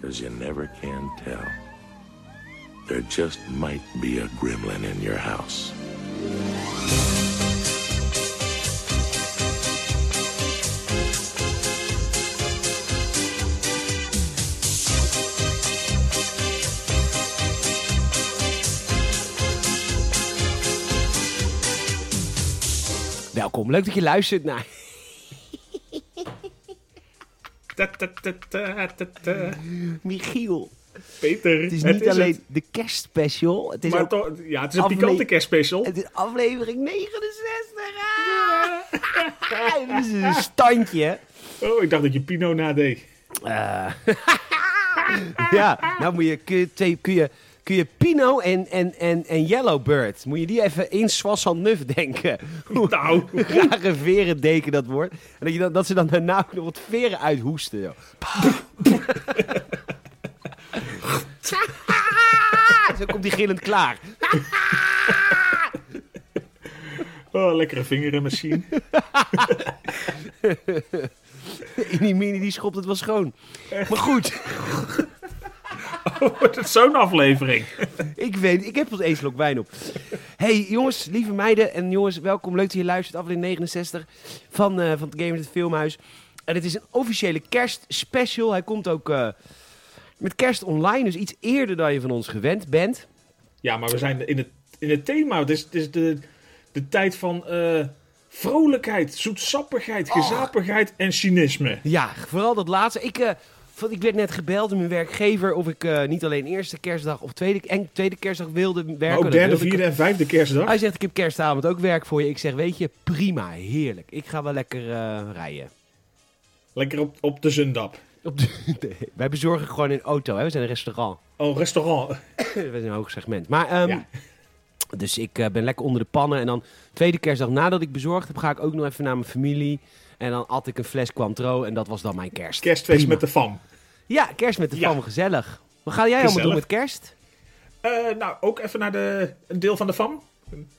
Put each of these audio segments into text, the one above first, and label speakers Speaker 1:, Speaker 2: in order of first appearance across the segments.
Speaker 1: 'cause you never can tell. There just might be a gremlin in your house.
Speaker 2: Welkom, leuk dat je luistert naar...
Speaker 3: Ta, ta, ta, ta, ta, ta.
Speaker 2: Michiel,
Speaker 3: Peter,
Speaker 2: het is niet alleen de kerstspecial, het is
Speaker 3: maar
Speaker 2: ook
Speaker 3: toch- ja, het is een
Speaker 2: afle-
Speaker 3: pikante kerstspecial.
Speaker 2: het is aflevering 69. Ah! Dit is een standje.
Speaker 3: Oh, ik dacht dat je Pino nadeed.
Speaker 2: Eh, ja, nou moet je, kun je, twee- kun je, kun je Pino en, en, en, en Yellowbird, moet je die even in Swassand Nuf denken. Hoe
Speaker 3: Nou,
Speaker 2: rare veren deken dat wordt. En dat, je dan, dat ze dan daarna ook nog wat veren uithoesten. Joh. Zo komt die gillend klaar.
Speaker 3: oh, lekkere vingerenmachine.
Speaker 2: In die mini die schopt het wel schoon. Maar goed,
Speaker 3: Wordt het zo'n aflevering?
Speaker 2: ik weet, ik heb pas één slok wijn op. Hey jongens, lieve meiden en jongens, welkom. Leuk dat je luistert, aflevering 69 van, eh, van het Gamers het Filmhuis. En het is een officiële kerstspecial. Hij komt ook eh, met kerst online, dus iets eerder dan je van ons gewend bent.
Speaker 3: Ja, maar we zijn in het, in het thema. Het is, het is de, de tijd van eh, vrolijkheid, zoetsappigheid, gezapigheid en cynisme.
Speaker 2: Oh. Ja, vooral dat laatste. Ik, eh, van, ik werd net gebeld door mijn werkgever of ik eh, niet alleen eerste kerstdag of tweede, en tweede kerstdag wilde werken.
Speaker 3: Maar ook
Speaker 2: Dat
Speaker 3: derde,
Speaker 2: wilde ik-
Speaker 3: vierde en vijfde kerstdag.
Speaker 2: Hij zegt, ik heb kerstavond ook werk voor je. Ik zeg, weet je, prima, heerlijk. Ik ga wel lekker eh, rijden.
Speaker 3: Lekker op, op de zundap.
Speaker 2: Op de- nee, wij bezorgen gewoon een auto, hè? we zijn een restaurant.
Speaker 3: Oh, restaurant.
Speaker 2: we zijn een hoog segment. Maar, ehm,
Speaker 3: Ja.
Speaker 2: Dus ik eh, ben lekker onder de pannen. En dan tweede kerstdag nadat ik bezorgd heb, ga ik ook nog even naar mijn familie. En dan at ik een fles Cointreau en dat was dan mijn kerst.
Speaker 3: Kerstfeest
Speaker 2: Prima.
Speaker 3: met de fam.
Speaker 2: Ja, kerst met de
Speaker 3: Ja.
Speaker 2: fam, gezellig. Wat ga jij allemaal doen
Speaker 3: Gezellig.
Speaker 2: met kerst?
Speaker 3: Eh, nou, ook even naar de, een deel van de fam.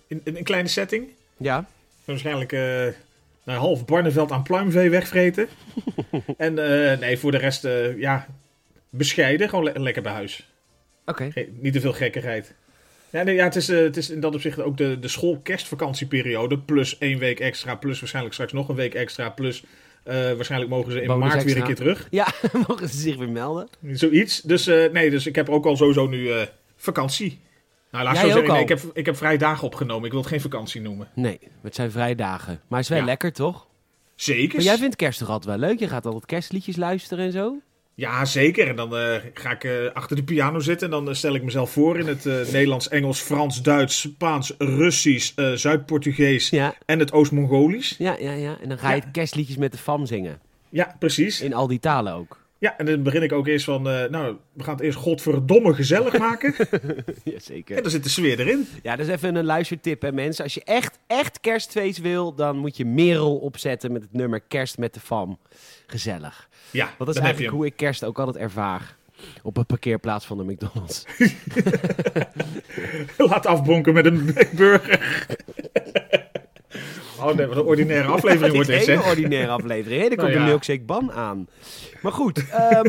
Speaker 3: In, in een kleine setting.
Speaker 2: Ja.
Speaker 3: Waarschijnlijk eh, een half Barneveld aan pluimvee wegvreten. en eh, nee, voor de rest, eh, ja, bescheiden. Gewoon le- lekker bij huis.
Speaker 2: Oké.
Speaker 3: Ge- niet te veel gekkigheid. Ja, nee, ja het, is, eh, het is in dat opzicht ook de, de school-kerstvakantieperiode. Plus één week extra. Plus waarschijnlijk straks nog een week extra. Plus eh, waarschijnlijk mogen ze in
Speaker 2: Bonus
Speaker 3: maart weer
Speaker 2: extra.
Speaker 3: een keer terug.
Speaker 2: Ja, mogen ze zich weer melden?
Speaker 3: Zoiets. Dus eh, nee, dus ik heb ook al sowieso nu eh, vakantie. Nou, laat ik
Speaker 2: Jij
Speaker 3: zo
Speaker 2: ook
Speaker 3: zeggen. nee,
Speaker 2: al?
Speaker 3: ik, heb, ik heb vrij dagen opgenomen. Ik wil het geen vakantie noemen.
Speaker 2: Nee, het zijn vrije dagen. Maar het is wel
Speaker 3: Ja.
Speaker 2: lekker, toch?
Speaker 3: Zeker.
Speaker 2: Maar jij vindt kerst toch altijd wel leuk? Je gaat altijd kerstliedjes luisteren en zo?
Speaker 3: Ja, zeker. En dan eh, ga ik eh, achter de piano zitten en dan eh, stel ik mezelf voor in het eh, Nederlands, Engels, Frans, Duits, Spaans, Russisch, eh, Zuid-Portugees
Speaker 2: Ja,
Speaker 3: en het Oost-Mongolisch.
Speaker 2: ja, ja. ja. En dan ga je
Speaker 3: Ja.
Speaker 2: het kerstliedjes met de fam zingen.
Speaker 3: Ja, precies.
Speaker 2: In al die talen ook.
Speaker 3: Ja, en dan begin ik ook eerst van, eh, nou, we gaan het eerst godverdomme gezellig maken. en
Speaker 2: Jazeker.
Speaker 3: dan zit de sfeer erin.
Speaker 2: Ja, dat is even een luistertip, hè mensen. Als je echt, echt kerstfeest wil, dan moet je Merel opzetten met het nummer Kerst met de fam. Gezellig.
Speaker 3: Ja,
Speaker 2: Want dat is
Speaker 3: dan heb je
Speaker 2: eigenlijk
Speaker 3: hem.
Speaker 2: hoe ik kerst ook altijd ervaar. Op een parkeerplaats van de McDonald's.
Speaker 3: Laat afbonken met een burger. oh nee, wat een ordinaire aflevering wordt
Speaker 2: dit
Speaker 3: dit,
Speaker 2: is een
Speaker 3: hè?
Speaker 2: ordinaire aflevering. Hé, daar komt
Speaker 3: Nou ja.
Speaker 2: de milkshake ban aan. Maar goed. ehm,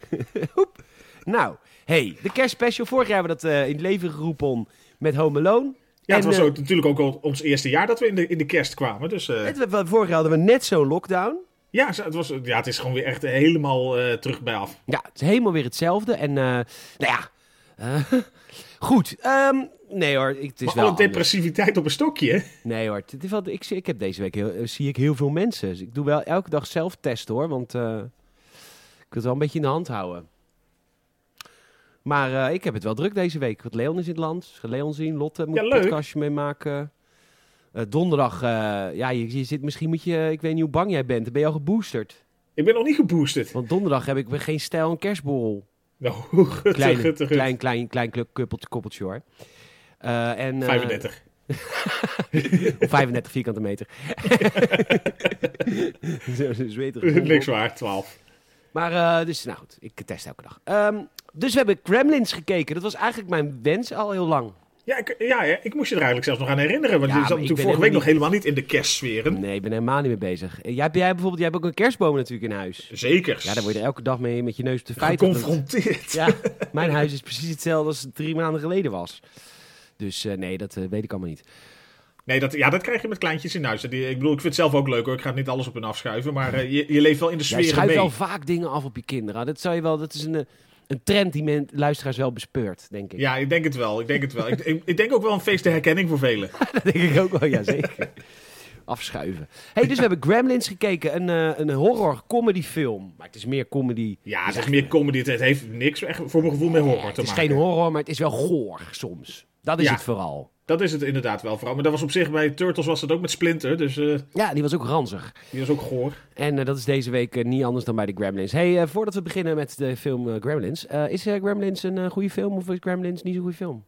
Speaker 2: hoep. nou, hey, de kerstspecial. Vorig jaar hebben we dat eh, in het leven geroepen om met Home Alone.
Speaker 3: Ja, het
Speaker 2: En,
Speaker 3: was
Speaker 2: eh,
Speaker 3: ook, natuurlijk ook al ons eerste jaar dat we in de, in de kerst kwamen. Dus eh,
Speaker 2: het- we- vorig jaar hadden we net zo'n lockdown.
Speaker 3: Ja, zo- het, was, ja, het is gewoon weer echt helemaal eh, terug bij af.
Speaker 2: Ja, het is helemaal weer hetzelfde. En, eh, nou ja. eh, goed. ehm, nee hoor, ik- het is
Speaker 3: Maar
Speaker 2: wel
Speaker 3: alle
Speaker 2: anders.
Speaker 3: depressiviteit op een stokje. hè?
Speaker 2: Nee hoor, het is wel, ik, zie- ik heb deze week heel, eh, zie ik heel veel mensen. Dus ik doe wel elke dag zelf testen hoor, want eh, ik wil het wel een beetje in de hand houden. Maar eh, ik heb het wel druk deze week, want Leon is in het land. Dus ik ga Leon zien, Lotte moet
Speaker 3: Ja,
Speaker 2: een
Speaker 3: leuk.
Speaker 2: podcastje mee maken. Eh, donderdag, eh, ja, je, je zit, misschien moet je, ik weet niet hoe bang jij bent, dan ben je al geboosterd.
Speaker 3: Ik ben nog niet geboosterd.
Speaker 2: Want donderdag heb ik weer geen stijl en kerstborrel.
Speaker 3: Nou, gutte,
Speaker 2: Kleine,
Speaker 3: gutte, gutte.
Speaker 2: klein, klein, klein, klein kuppeltje, koppeltje hoor. Eh, en, eh,
Speaker 3: 35.
Speaker 2: Op 35 vierkante meter. zo, zo zweterig.
Speaker 3: Niks waar, 12.
Speaker 2: Maar eh, dus, nou goed, ik test elke dag. Ehm, dus we hebben Gremlins gekeken. Dat was eigenlijk mijn wens al heel lang.
Speaker 3: Ja, ik, ja, ja, ik moest je er eigenlijk zelfs nog aan herinneren. Want
Speaker 2: Ja,
Speaker 3: je
Speaker 2: maar
Speaker 3: zat
Speaker 2: ik
Speaker 3: natuurlijk
Speaker 2: ben
Speaker 3: vorige week nog
Speaker 2: helemaal
Speaker 3: helemaal niet in de kerstsferen.
Speaker 2: Nee, ik ben er helemaal niet mee bezig. Eh, Jij, hebt- jij, bijvoorbeeld, jij hebt ook een kerstboom natuurlijk in huis.
Speaker 3: Zeker.
Speaker 2: Ja, daar word je elke dag mee met je neus op de feiten.
Speaker 3: geconfronteerd.
Speaker 2: Ja, mijn huis is precies hetzelfde als het drie maanden geleden was. Dus eh, nee, dat eh, weet ik allemaal niet.
Speaker 3: Nee, dat, ja, dat krijg je met kleintjes in huis. Die, ik bedoel, ik vind het zelf ook leuk hoor. Ik ga het niet alles op hun afschuiven. Maar eh, je, je leeft wel in de
Speaker 2: Jij
Speaker 3: sfeer
Speaker 2: schuift
Speaker 3: mee.
Speaker 2: wel vaak dingen af op je kinderen. Ah, Dat, zou je wel, dat is een, eh, een trend die men luisteraars wel bespeurt, denk ik.
Speaker 3: Ja, ik denk het wel. Ik denk het wel. ik, ik, ik denk ook wel een feest de herkenning voor velen.
Speaker 2: Dat denk ik ook wel, ja zeker. Afschuiven. hey, dus we hebben Gremlins gekeken. Een, eh, een horror-comedy film. Maar het is meer comedy.
Speaker 3: Ja, het is meer comedy. Het heeft niks echt voor mijn gevoel met horror
Speaker 2: Eh, het
Speaker 3: te
Speaker 2: is
Speaker 3: maken.
Speaker 2: geen horror, maar het is wel goor soms. Dat is
Speaker 3: Ja.
Speaker 2: het vooral.
Speaker 3: Dat is het inderdaad wel vooral. Maar dat was op zich bij Turtles was dat ook met Splinter. Dus eh,
Speaker 2: Ja, die was ook ranzig.
Speaker 3: die was ook goor.
Speaker 2: En eh, dat is deze week eh, niet anders dan bij de Gremlins. hey, eh, voordat we beginnen met de film eh, Gremlins. eh, is eh, Gremlins een eh, goede film of is Gremlins niet zo'n goede film?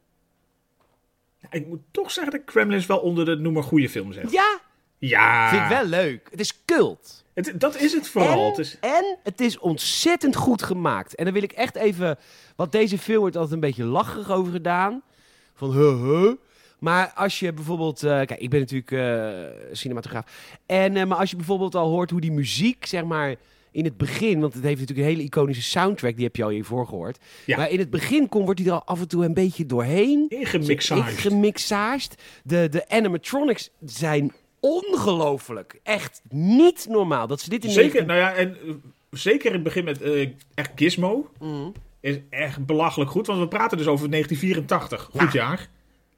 Speaker 3: Ja, ik moet toch zeggen dat Kremlins wel onder de noemer goede film zegt.
Speaker 2: Ja,
Speaker 3: Ja.
Speaker 2: vind ik wel leuk. Het is cult.
Speaker 3: Het- dat is het vooral.
Speaker 2: En,
Speaker 3: Het is,
Speaker 2: en het is ontzettend goed gemaakt. En dan wil ik echt even... Want deze film wordt altijd een beetje lacherig over gedaan. Van huh, huh. Maar als je bijvoorbeeld... eh, kijk, ik ben natuurlijk eh, cinematograaf. En, eh, maar als je bijvoorbeeld al hoort hoe die muziek, zeg maar... In het begin, want het heeft natuurlijk een hele iconische soundtrack, die heb je al hiervoor gehoord.
Speaker 3: Ja.
Speaker 2: Maar in het begin komt, wordt hij er al af en toe een beetje doorheen.
Speaker 3: Ingemixaagd.
Speaker 2: Ik gemixaagd. De, de animatronics zijn ongelooflijk. Echt niet normaal. Dat ze dit in
Speaker 3: Zeker, nou ja, en eh, zeker in het begin met eh, echt Gizmo.
Speaker 2: Mm.
Speaker 3: Is echt belachelijk goed. Want we praten dus over 1984. Goed jaar.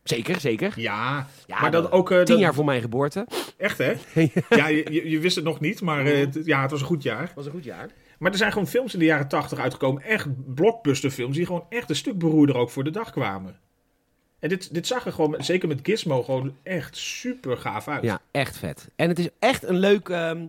Speaker 2: Zeker, zeker.
Speaker 3: Ja.
Speaker 2: Ja,
Speaker 3: maar
Speaker 2: dat-
Speaker 3: dat ook... eh,
Speaker 2: Tien
Speaker 3: dat-
Speaker 2: jaar voor mijn geboorte.
Speaker 3: Echt, hè? ja, je, je- je wist het nog niet. Maar eh, het- ja, het was een goed jaar.
Speaker 2: Was een goed jaar.
Speaker 3: Maar er zijn gewoon films in de jaren 80 uitgekomen. Echt blockbusterfilms. Die gewoon echt een stuk beroerder ook voor de dag kwamen. En dit, dit zag er gewoon, met- zeker met Gizmo, gewoon echt super gaaf uit.
Speaker 2: Ja, echt vet. En het is echt een leuk ehm,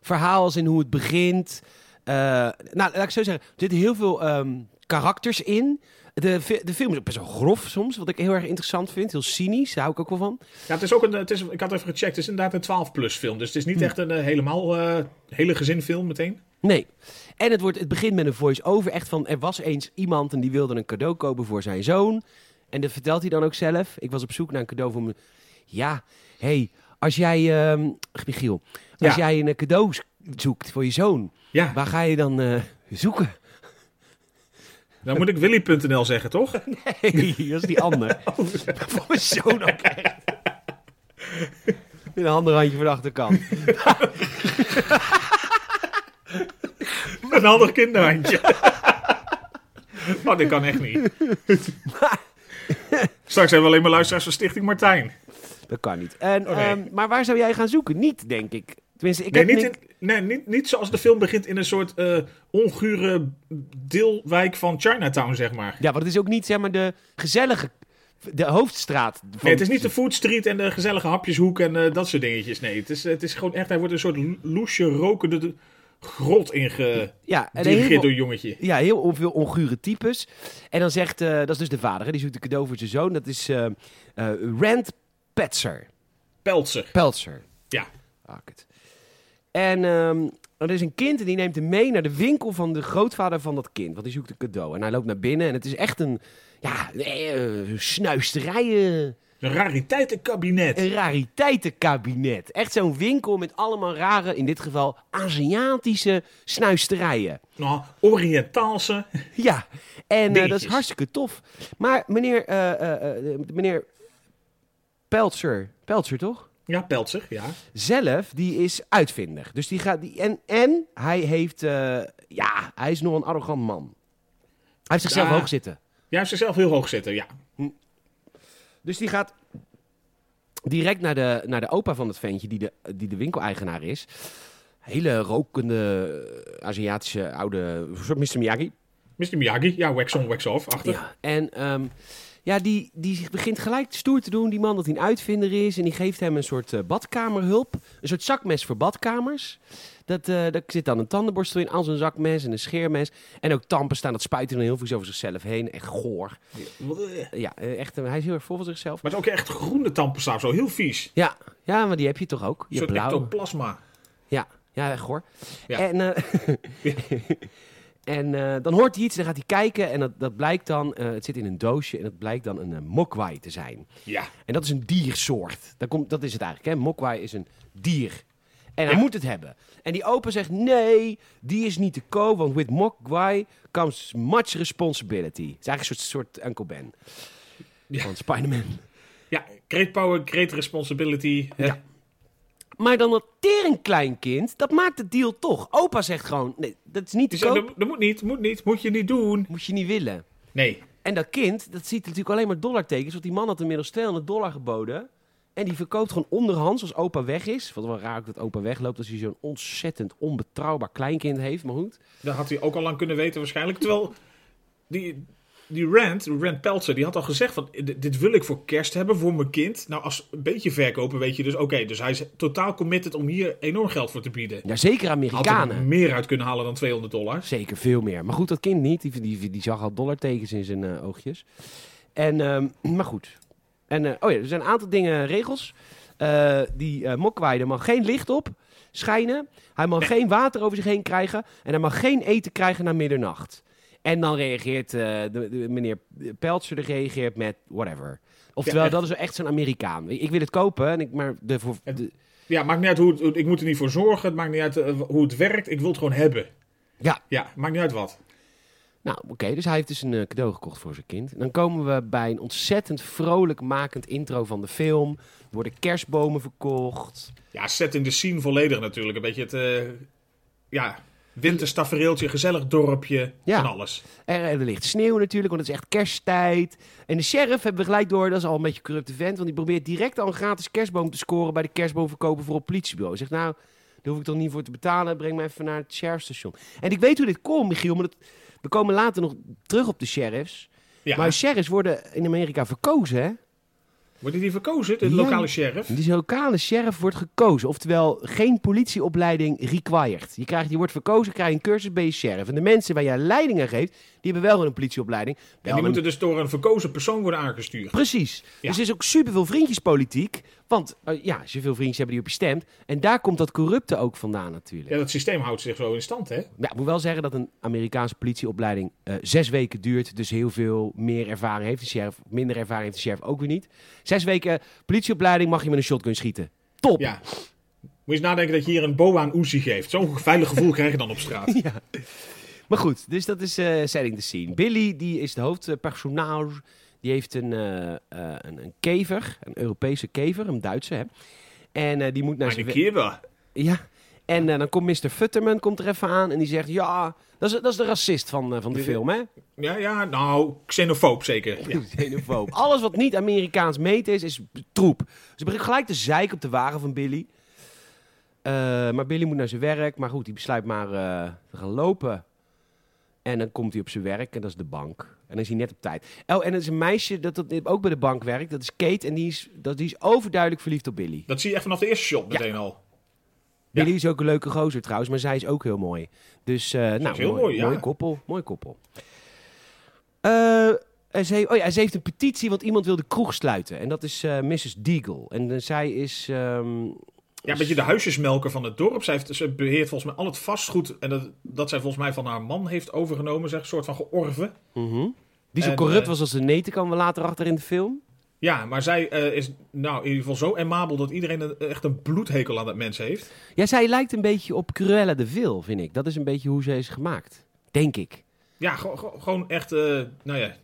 Speaker 2: verhaal als in hoe het begint. Eh, nou, laat ik zo zeggen. Er zitten heel veel ehm, karakters in. De, fi- de film is ook best wel grof soms, wat ik heel erg interessant vind. Heel cynisch, daar hou ik ook wel van.
Speaker 3: Ja, het is ook een, het is, ik had even gecheckt, het is inderdaad een 12-plus film. Dus het is niet
Speaker 2: Hm.
Speaker 3: echt een eh, helemaal eh, hele gezinfilm meteen.
Speaker 2: Nee. En het, wordt, het begint met een voice-over. Echt van, er was eens iemand en die wilde een cadeau kopen voor zijn zoon. En dat vertelt hij dan ook zelf. Ik was op zoek naar een cadeau voor mijn... Ja, hé, hey, als jij... ehm Michiel, als
Speaker 3: Ja.
Speaker 2: jij een eh, cadeau z- zoekt voor je zoon,
Speaker 3: Ja,
Speaker 2: waar ga je dan eh, zoeken?
Speaker 3: dan moet ik Willy.nl zeggen, toch?
Speaker 2: Nee, dat is die ander. voor mijn zoon ook echt. Met een ander handje voor de achterkant.
Speaker 3: Een handig kinderhandje. Oh, dit kan echt niet. Straks hebben we alleen maar luisteraars van Stichting Martijn.
Speaker 2: Dat kan niet. En,
Speaker 3: Oh, nee.
Speaker 2: ehm, maar waar zou jij gaan zoeken? Niet, denk ik. Tenminste, ik
Speaker 3: Nee,
Speaker 2: heb
Speaker 3: niet,
Speaker 2: niks-
Speaker 3: in- nee niet, niet zoals de film begint in een soort eh ongure deelwijk van Chinatown, zeg maar.
Speaker 2: Ja, want het is ook niet zeg maar de gezellige, de hoofdstraat. Van...
Speaker 3: Nee, het is niet de food street en de gezellige hapjeshoek en eh, dat soort dingetjes. Nee, het is, het is gewoon echt, hij wordt een soort lo- loesje rokende de- grot inge...
Speaker 2: Ja, en heel,
Speaker 3: Dirigeerd
Speaker 2: veel,
Speaker 3: door jongetje.
Speaker 2: ja, heel on- veel ongure types. En dan zegt, eh, dat is dus de vader, hè, die zoekt een cadeau voor zijn zoon. Dat is eh eh, Rand Petzer.
Speaker 3: Peltzer.
Speaker 2: Peltzer.
Speaker 3: Ja.
Speaker 2: Ah, kut. En ehm, er is een kind en die neemt hem mee naar de winkel van de grootvader van dat kind. Want die zoekt een cadeau. En hij loopt naar binnen en het is echt een, ja, eh, snuisterij. eh.
Speaker 3: Een rariteitenkabinet.
Speaker 2: Een rariteitenkabinet. Echt zo'n winkel met allemaal rare, in dit geval Aziatische snuisterijen.
Speaker 3: Nou, Oriëntaalse.
Speaker 2: Ja, en eh, dat is
Speaker 3: Dingetjes.
Speaker 2: hartstikke tof. Maar meneer, eh, eh, eh, meneer Peltzer, Peltzer toch?
Speaker 3: Ja, Peltzer, ja.
Speaker 2: Zelf, die is uitvinder. Dus die gaat, die, en, en hij heeft, eh, ja, hij is nog een arrogant man. Hij heeft zichzelf
Speaker 3: Ja.
Speaker 2: hoog zitten.
Speaker 3: Jij heeft zichzelf heel hoog zitten, ja.
Speaker 2: Dus die gaat direct naar de, naar de opa van het ventje, die de, die de winkeleigenaar is. Hele rokende eh, Aziatische oude een soort Mr. Miyagi.
Speaker 3: Mr. Miyagi, ja, wax on, wax off, achter.
Speaker 2: Ja. En ehm, ja, die, die begint gelijk stoer te doen, die man, dat hij een uitvinder is. En die geeft hem een soort eh, badkamerhulp. Een soort zakmes voor badkamers. Dat, eh, daar zit dan een tandenborstel in, als een zakmes en een scheermes. En ook tampen staan, dat spuiten dan heel veel over zichzelf heen. Echt goor. Ja, eh, echt, eh, hij is heel erg vol van zichzelf.
Speaker 3: Maar het is ook echt groene tandpasta, zo heel vies.
Speaker 2: Ja, ja, maar die heb je toch ook?
Speaker 3: Een
Speaker 2: Je
Speaker 3: soort
Speaker 2: blauwe.
Speaker 3: ectoplasma.
Speaker 2: Ja, ja, echt hoor.
Speaker 3: Ja.
Speaker 2: En, eh, En eh, dan hoort hij iets, dan gaat hij kijken en dat, dat blijkt dan, eh, het zit in een doosje en dat blijkt dan een eh, mokwai te zijn.
Speaker 3: Ja.
Speaker 2: En dat is een diersoort. Dat, komt, dat is het eigenlijk. Hè? Mokwai is een dier. En hij
Speaker 3: Ja.
Speaker 2: moet het hebben. En die opa zegt, nee, die is niet te koop, want with Mokwai comes much responsibility. Het is eigenlijk een soort, soort Uncle Ben
Speaker 3: Ja.
Speaker 2: van Spider-Man.
Speaker 3: Ja, great power, great responsibility. hè.
Speaker 2: Ja. Maar dan dat teringkleinkind, dat maakt het deal toch. Opa zegt gewoon, nee, dat is niet te
Speaker 3: Die zei,
Speaker 2: koop,
Speaker 3: dat, dat moet niet, moet niet, moet je niet doen.
Speaker 2: moet je niet willen.
Speaker 3: Nee.
Speaker 2: En dat kind, dat ziet natuurlijk alleen maar dollartekens. Want die man had inmiddels 200 dollar geboden. En die verkoopt gewoon onderhands als opa weg is. Wat wel raar ook dat opa wegloopt als hij zo'n ontzettend onbetrouwbaar kleinkind heeft. Maar goed.
Speaker 3: Dat had hij ook al lang kunnen weten waarschijnlijk. Terwijl die, die Rand, Rand Peltzer, die had al gezegd van... "Dit- Dit wil ik voor kerst hebben voor mijn kind. Nou, als een beetje verkopen weet je dus... Oké, dus hij is totaal committed om hier enorm geld voor te bieden.
Speaker 2: Ja, zeker
Speaker 3: Had er
Speaker 2: Amerikanen.
Speaker 3: meer uit kunnen halen dan 200 dollar.
Speaker 2: Zeker veel meer. Maar goed, dat kind niet. Die, die, die zag al dollartekens in zijn eh, oogjes. En, ehm, maar goed. En, eh, oh ja, er zijn een aantal dingen, regels. Eh, die eh Mokwai, er mag geen licht op schijnen. Hij mag geen water over zich heen krijgen. En hij mag geen eten krijgen na middernacht. En dan reageert eh, de, de- meneer Peltzer er reageert met whatever. Oftewel,
Speaker 3: echt.
Speaker 2: dat is wel echt zo'n Amerikaan. Ik, ik wil het kopen, en ik, maar de, voor,
Speaker 3: Het-
Speaker 2: de-
Speaker 3: Ja, maakt niet uit hoe het... hoe- Ik moet er niet voor zorgen. Het maakt niet uit eh, hoe het werkt. Ik wil het gewoon hebben.
Speaker 2: Ja.
Speaker 3: Ja, maakt niet uit wat.
Speaker 2: Nou, oké, dus hij heeft dus een eh, cadeau gekocht voor zijn kind. En dan komen we bij een ontzettend vrolijk makend intro van de film. Er worden kerstbomen verkocht.
Speaker 3: Ja, set in de scene volledig natuurlijk. Een beetje het... eh, ja, winterstafereeltje, gezellig dorpje.
Speaker 2: Ja.
Speaker 3: Van alles.
Speaker 2: Er, er ligt sneeuw natuurlijk, want het is echt kersttijd. En de sheriff hebben we gelijk door, dat is al een beetje een corrupte vent. Want die probeert direct al een gratis kerstboom te scoren bij de kerstboomverkoper voor op het politiebureau. Hij zegt, nou, daar hoef ik toch niet voor te betalen. Breng me even naar het sheriffstation. En ik weet hoe dit komt, Michiel, maar dat, we komen later nog terug op de sheriffs.
Speaker 3: Ja.
Speaker 2: Maar sheriffs worden in Amerika verkozen, hè?
Speaker 3: Worden die verkozen, de
Speaker 2: Ja.
Speaker 3: lokale sheriff?
Speaker 2: Dus de lokale sheriff wordt gekozen. Oftewel, geen politieopleiding required. Je, krijgt, je wordt verkozen, krijg je een cursus, ben je sheriff. En de mensen waar jij leidingen geeft, die hebben wel gewoon een politieopleiding.
Speaker 3: En
Speaker 2: Wel
Speaker 3: die
Speaker 2: een-
Speaker 3: moeten dus door een verkozen persoon worden aangestuurd.
Speaker 2: Precies.
Speaker 3: Ja.
Speaker 2: Dus er is ook superveel vriendjespolitiek. Want eh, ja, als je veel vriendjes hebt die op je stemt. En daar komt dat corrupte ook vandaan natuurlijk.
Speaker 3: Ja, dat systeem houdt zich zo in stand, hè?
Speaker 2: Ja, ik moet wel zeggen dat een Amerikaanse politieopleiding eh, zes weken duurt. Dus heel veel meer ervaring heeft de sheriff. Minder ervaring heeft de sheriff ook weer niet. Zes weken politieopleiding mag je met een shotgun schieten. Top!
Speaker 3: Ja. Moet je eens nadenken dat je hier een boa aan Uzi geeft. Zo'n veilig gevoel krijg je dan op straat.
Speaker 2: Ja. Maar goed, dus dat is eh, setting the scene. Billy, die is de hoofdpersonage. Die heeft een, eh, eh, een, een kever, een Europese kever, een Duitse, hè. En eh, die moet naar
Speaker 3: Maar
Speaker 2: zijn...
Speaker 3: een
Speaker 2: we-
Speaker 3: keer wel.
Speaker 2: Ja. En eh, dan komt Mr. Futterman komt er even aan en die zegt... Ja, dat is, dat is de racist van, eh, van de
Speaker 3: Ja.
Speaker 2: film, hè?
Speaker 3: Ja, ja, nou, xenofoob zeker. Ja.
Speaker 2: Xenofoob. Alles wat niet Amerikaans meet is, is troep. Dus ik begin gelijk te zeiken op de wagen van Billy. Eh, maar Billy moet naar zijn werk. Maar goed, die besluit maar eh, te gaan lopen. En dan komt hij op zijn werk en dat is de bank. En dan is hij net op tijd. Oh, en er is een meisje dat, dat ook bij de bank werkt. Dat is Kate en die is, dat, die is overduidelijk verliefd op Billy.
Speaker 3: Dat zie je echt vanaf de eerste shot meteen al. Ja.
Speaker 2: Billy is ook een leuke gozer trouwens, maar zij is ook heel mooi. Dus eh, nou,
Speaker 3: heel
Speaker 2: mooi,
Speaker 3: mooi, ja.
Speaker 2: mooi koppel, mooi koppel. Eh, en ze, heeft- oh ja, ze heeft een petitie, want iemand wil de kroeg sluiten. En dat is eh, Mrs. Deagle. En eh, zij is... ehm,
Speaker 3: Ja, een beetje de huisjesmelker van het dorp. Zij heeft, ze beheert volgens mij al het vastgoed. En dat, dat zij volgens mij van haar man heeft overgenomen, zeg, een soort van georven.
Speaker 2: mhm. die zo
Speaker 3: En,
Speaker 2: corrupt
Speaker 3: eh,
Speaker 2: was als de neten, komen we later achter in de film.
Speaker 3: Ja, maar zij eh, is nou in ieder geval zo emabel dat iedereen een- echt een bloedhekel aan dat mens heeft.
Speaker 2: Ja, zij lijkt een beetje op Cruella de Vil, vind ik. Dat is een beetje hoe ze is gemaakt. Denk ik.
Speaker 3: Ja, gewoon- gewoon gewoon echt, eh, nou ja,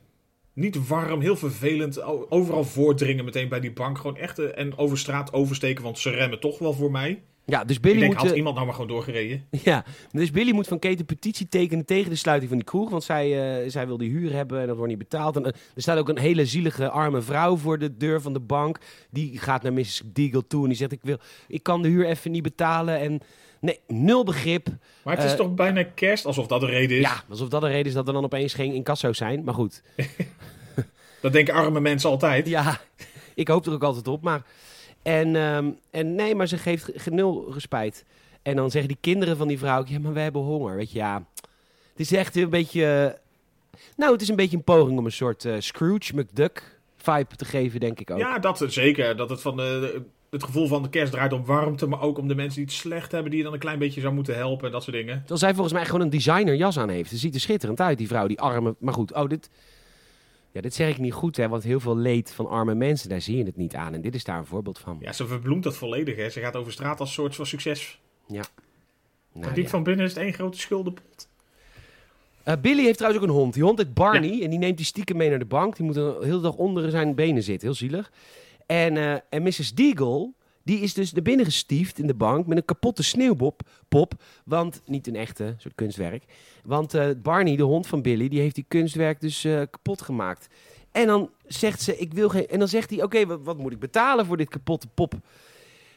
Speaker 3: niet warm, heel vervelend. o- Overal voordringen meteen bij die bank. Gewoon echt, eh, en over straat oversteken, want ze remmen toch wel voor mij.
Speaker 2: Ja, dus
Speaker 3: ik
Speaker 2: Billy
Speaker 3: denk,
Speaker 2: moet...
Speaker 3: had
Speaker 2: eh,
Speaker 3: iemand nou maar gewoon doorgereden?
Speaker 2: Ja, dus Billy moet van Kate een petitie tekenen tegen de sluiting van die kroeg. Want zij, eh, zij wil die huur hebben en dat wordt niet betaald. En, eh, er staat ook een hele zielige arme vrouw voor de deur van de bank. Die gaat naar Mrs. Deagle toe en die zegt: Ik, wil, ik kan de huur even niet betalen. En nee, nul begrip.
Speaker 3: Maar het is
Speaker 2: Eh,
Speaker 3: toch bijna kerst, alsof dat de reden is.
Speaker 2: Ja, alsof dat de reden is dat er dan opeens geen incasso's zijn. Maar goed,
Speaker 3: Dat denken arme mensen altijd.
Speaker 2: ja, ik hoop er ook altijd op. Maar, en, ehm, en nee, maar ze geeft ge- nul respijt. En dan zeggen die kinderen van die vrouw, ook, ja, maar we hebben honger. Weet je, ja. Het is echt een beetje, eh, nou, het is een beetje een poging om een soort eh, Scrooge McDuck vibe te geven, denk ik ook.
Speaker 3: Ja, dat zeker. Dat het van eh, de, het gevoel van de kerst draait om warmte, maar ook om de mensen die het slecht hebben, die je dan een klein beetje zou moeten helpen en dat soort dingen.
Speaker 2: Terwijl zij volgens mij gewoon een designer jas aan heeft. Ze ziet er schitterend uit, die vrouw, die arme. Maar goed, oh, dit. Ja, dit zeg ik niet goed, hè, want heel veel leed van arme mensen, daar zie je het niet aan. En dit is daar een voorbeeld van.
Speaker 3: Ja, ze verbloemt dat volledig. Hè. Ze gaat over straat als soort van succes.
Speaker 2: Nou,
Speaker 3: Diep
Speaker 2: ja.
Speaker 3: van binnen is het één grote schuldenpot.
Speaker 2: Eh, Billy heeft trouwens ook een hond. Die hond heet Barney en die neemt die stiekem mee naar de bank. Die moet de hele dag onder zijn benen zitten, heel zielig. En, eh, en Mrs. Deagle, die is dus naar binnen gestiefd in de bank met een kapotte sneeuwpop. Pop, want niet een echte, een soort kunstwerk. Want eh, Barney, de hond van Billy, die heeft die kunstwerk dus eh, kapot gemaakt. En dan zegt ze, ik wil geen... En dan zegt hij, oké, wa- wat, moet ik betalen voor dit kapotte pop?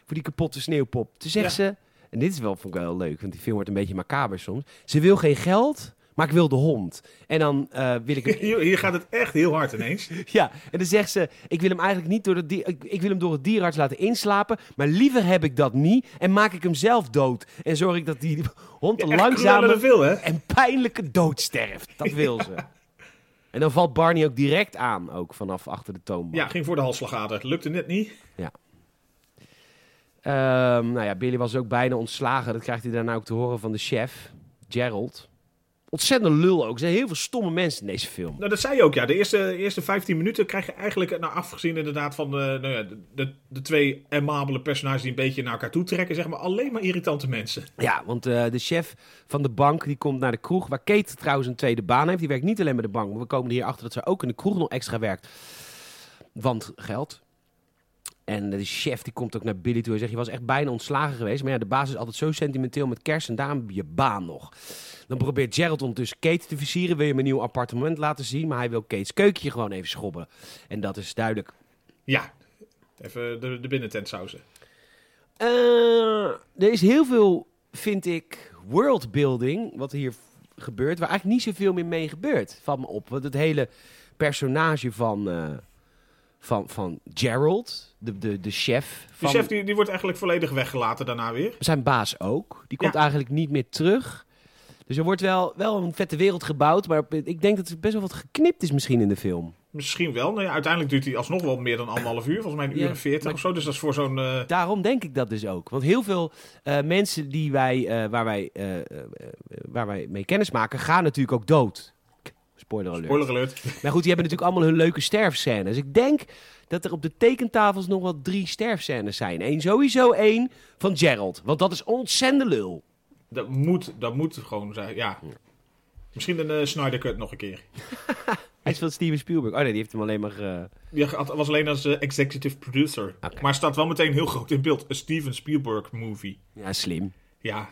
Speaker 2: Voor die kapotte sneeuwpop. Toen zegt ze, en dit is wel, vond ik wel leuk, want die film wordt een beetje macaber soms. Ze wil geen geld, maar ik wil de hond. En dan eh, wil ik hem
Speaker 3: Hier, hier gaat het echt heel hard ineens.
Speaker 2: ja, en dan zegt ze: Ik wil hem eigenlijk niet door het, dier, ik, ik wil hem door het dierenarts laten inslapen. Maar liever heb ik dat niet. En maak ik hem zelf dood. En zorg ik dat die hond een
Speaker 3: Echt
Speaker 2: langzame
Speaker 3: crueler dan veel, hè?
Speaker 2: en pijnlijke dood sterft. Dat wil ze. En dan valt Barney ook direct aan, ook vanaf achter de toonbank.
Speaker 3: Ja, ging voor de halsslagader. Lukte net niet.
Speaker 2: Ehm, nou ja, Billy was ook bijna ontslagen. Dat krijgt hij daarna ook te horen van de chef, Gerald. Ontzettend lul ook. Er zijn heel veel stomme mensen in deze film.
Speaker 3: Nou, dat zei je ook, ja. De eerste, eerste 15 minuten krijg je eigenlijk, nou, afgezien inderdaad van eh, nou ja, de, de, de twee amabele personages die een beetje naar elkaar toe trekken, zeg maar, alleen maar irritante mensen.
Speaker 2: Ja, want eh, de chef van de bank die komt naar de kroeg. Waar Kate trouwens een tweede baan heeft. Die werkt niet alleen bij de bank. Maar we komen hier achter dat ze ook in de kroeg nog extra werkt. Want geld. En eh, de chef die komt ook naar Billy toe en zegt... je was echt bijna ontslagen geweest. Maar ja, de baas is altijd zo sentimenteel met kerst... en daarom heb je baan nog. Dan probeert Gerald ondertussen Kate te versieren. Wil je hem een nieuw appartement laten zien... maar hij wil Kate's keukentje gewoon even schobben. En dat is duidelijk
Speaker 3: Ja, even de, de binnentent sausen.
Speaker 2: Eh, er is heel veel, vind ik, worldbuilding wat hier v- gebeurt, waar eigenlijk niet zoveel meer mee gebeurt. Valt me op. Want het hele personage van, eh, van, van Gerald, de, de, de chef
Speaker 3: Die
Speaker 2: van
Speaker 3: chef die, die wordt eigenlijk volledig weggelaten daarna weer.
Speaker 2: zijn baas ook, die komt
Speaker 3: Ja.
Speaker 2: eigenlijk niet meer terug. Dus er wordt wel, wel een vette wereld gebouwd, maar op- ik denk dat er best wel wat geknipt is misschien in de film.
Speaker 3: Misschien wel. Nou ja, uiteindelijk duurt hij alsnog wel meer dan anderhalf uur. Volgens mij een uur
Speaker 2: Ja,
Speaker 3: en veertig
Speaker 2: maar-
Speaker 3: of zo. Dus dat is voor zo'n... eh,
Speaker 2: Daarom denk ik dat dus ook. Want heel veel eh, mensen die wij, eh, waar, wij, eh, eh, waar wij mee kennis maken, gaan natuurlijk ook dood. Spoiler alert.
Speaker 3: Spoiler alert.
Speaker 2: Maar goed, die hebben natuurlijk allemaal hun leuke sterfscènes. Dus ik denk dat er op de tekentafels nog wel drie sterfscènes zijn. Eén sowieso één van Gerald. Want dat is ontzettend lul.
Speaker 3: Dat moet, dat moet gewoon zijn, ja. Misschien een eh, Snyder Cut nog een keer.
Speaker 2: Hij is van Steven Spielberg. Oh nee, die heeft hem alleen maar... eh,
Speaker 3: Die had- was alleen als eh, executive producer.
Speaker 2: Oké.
Speaker 3: Maar staat wel meteen heel groot in beeld. Een Steven Spielberg movie.
Speaker 2: Ja, slim.
Speaker 3: Ja.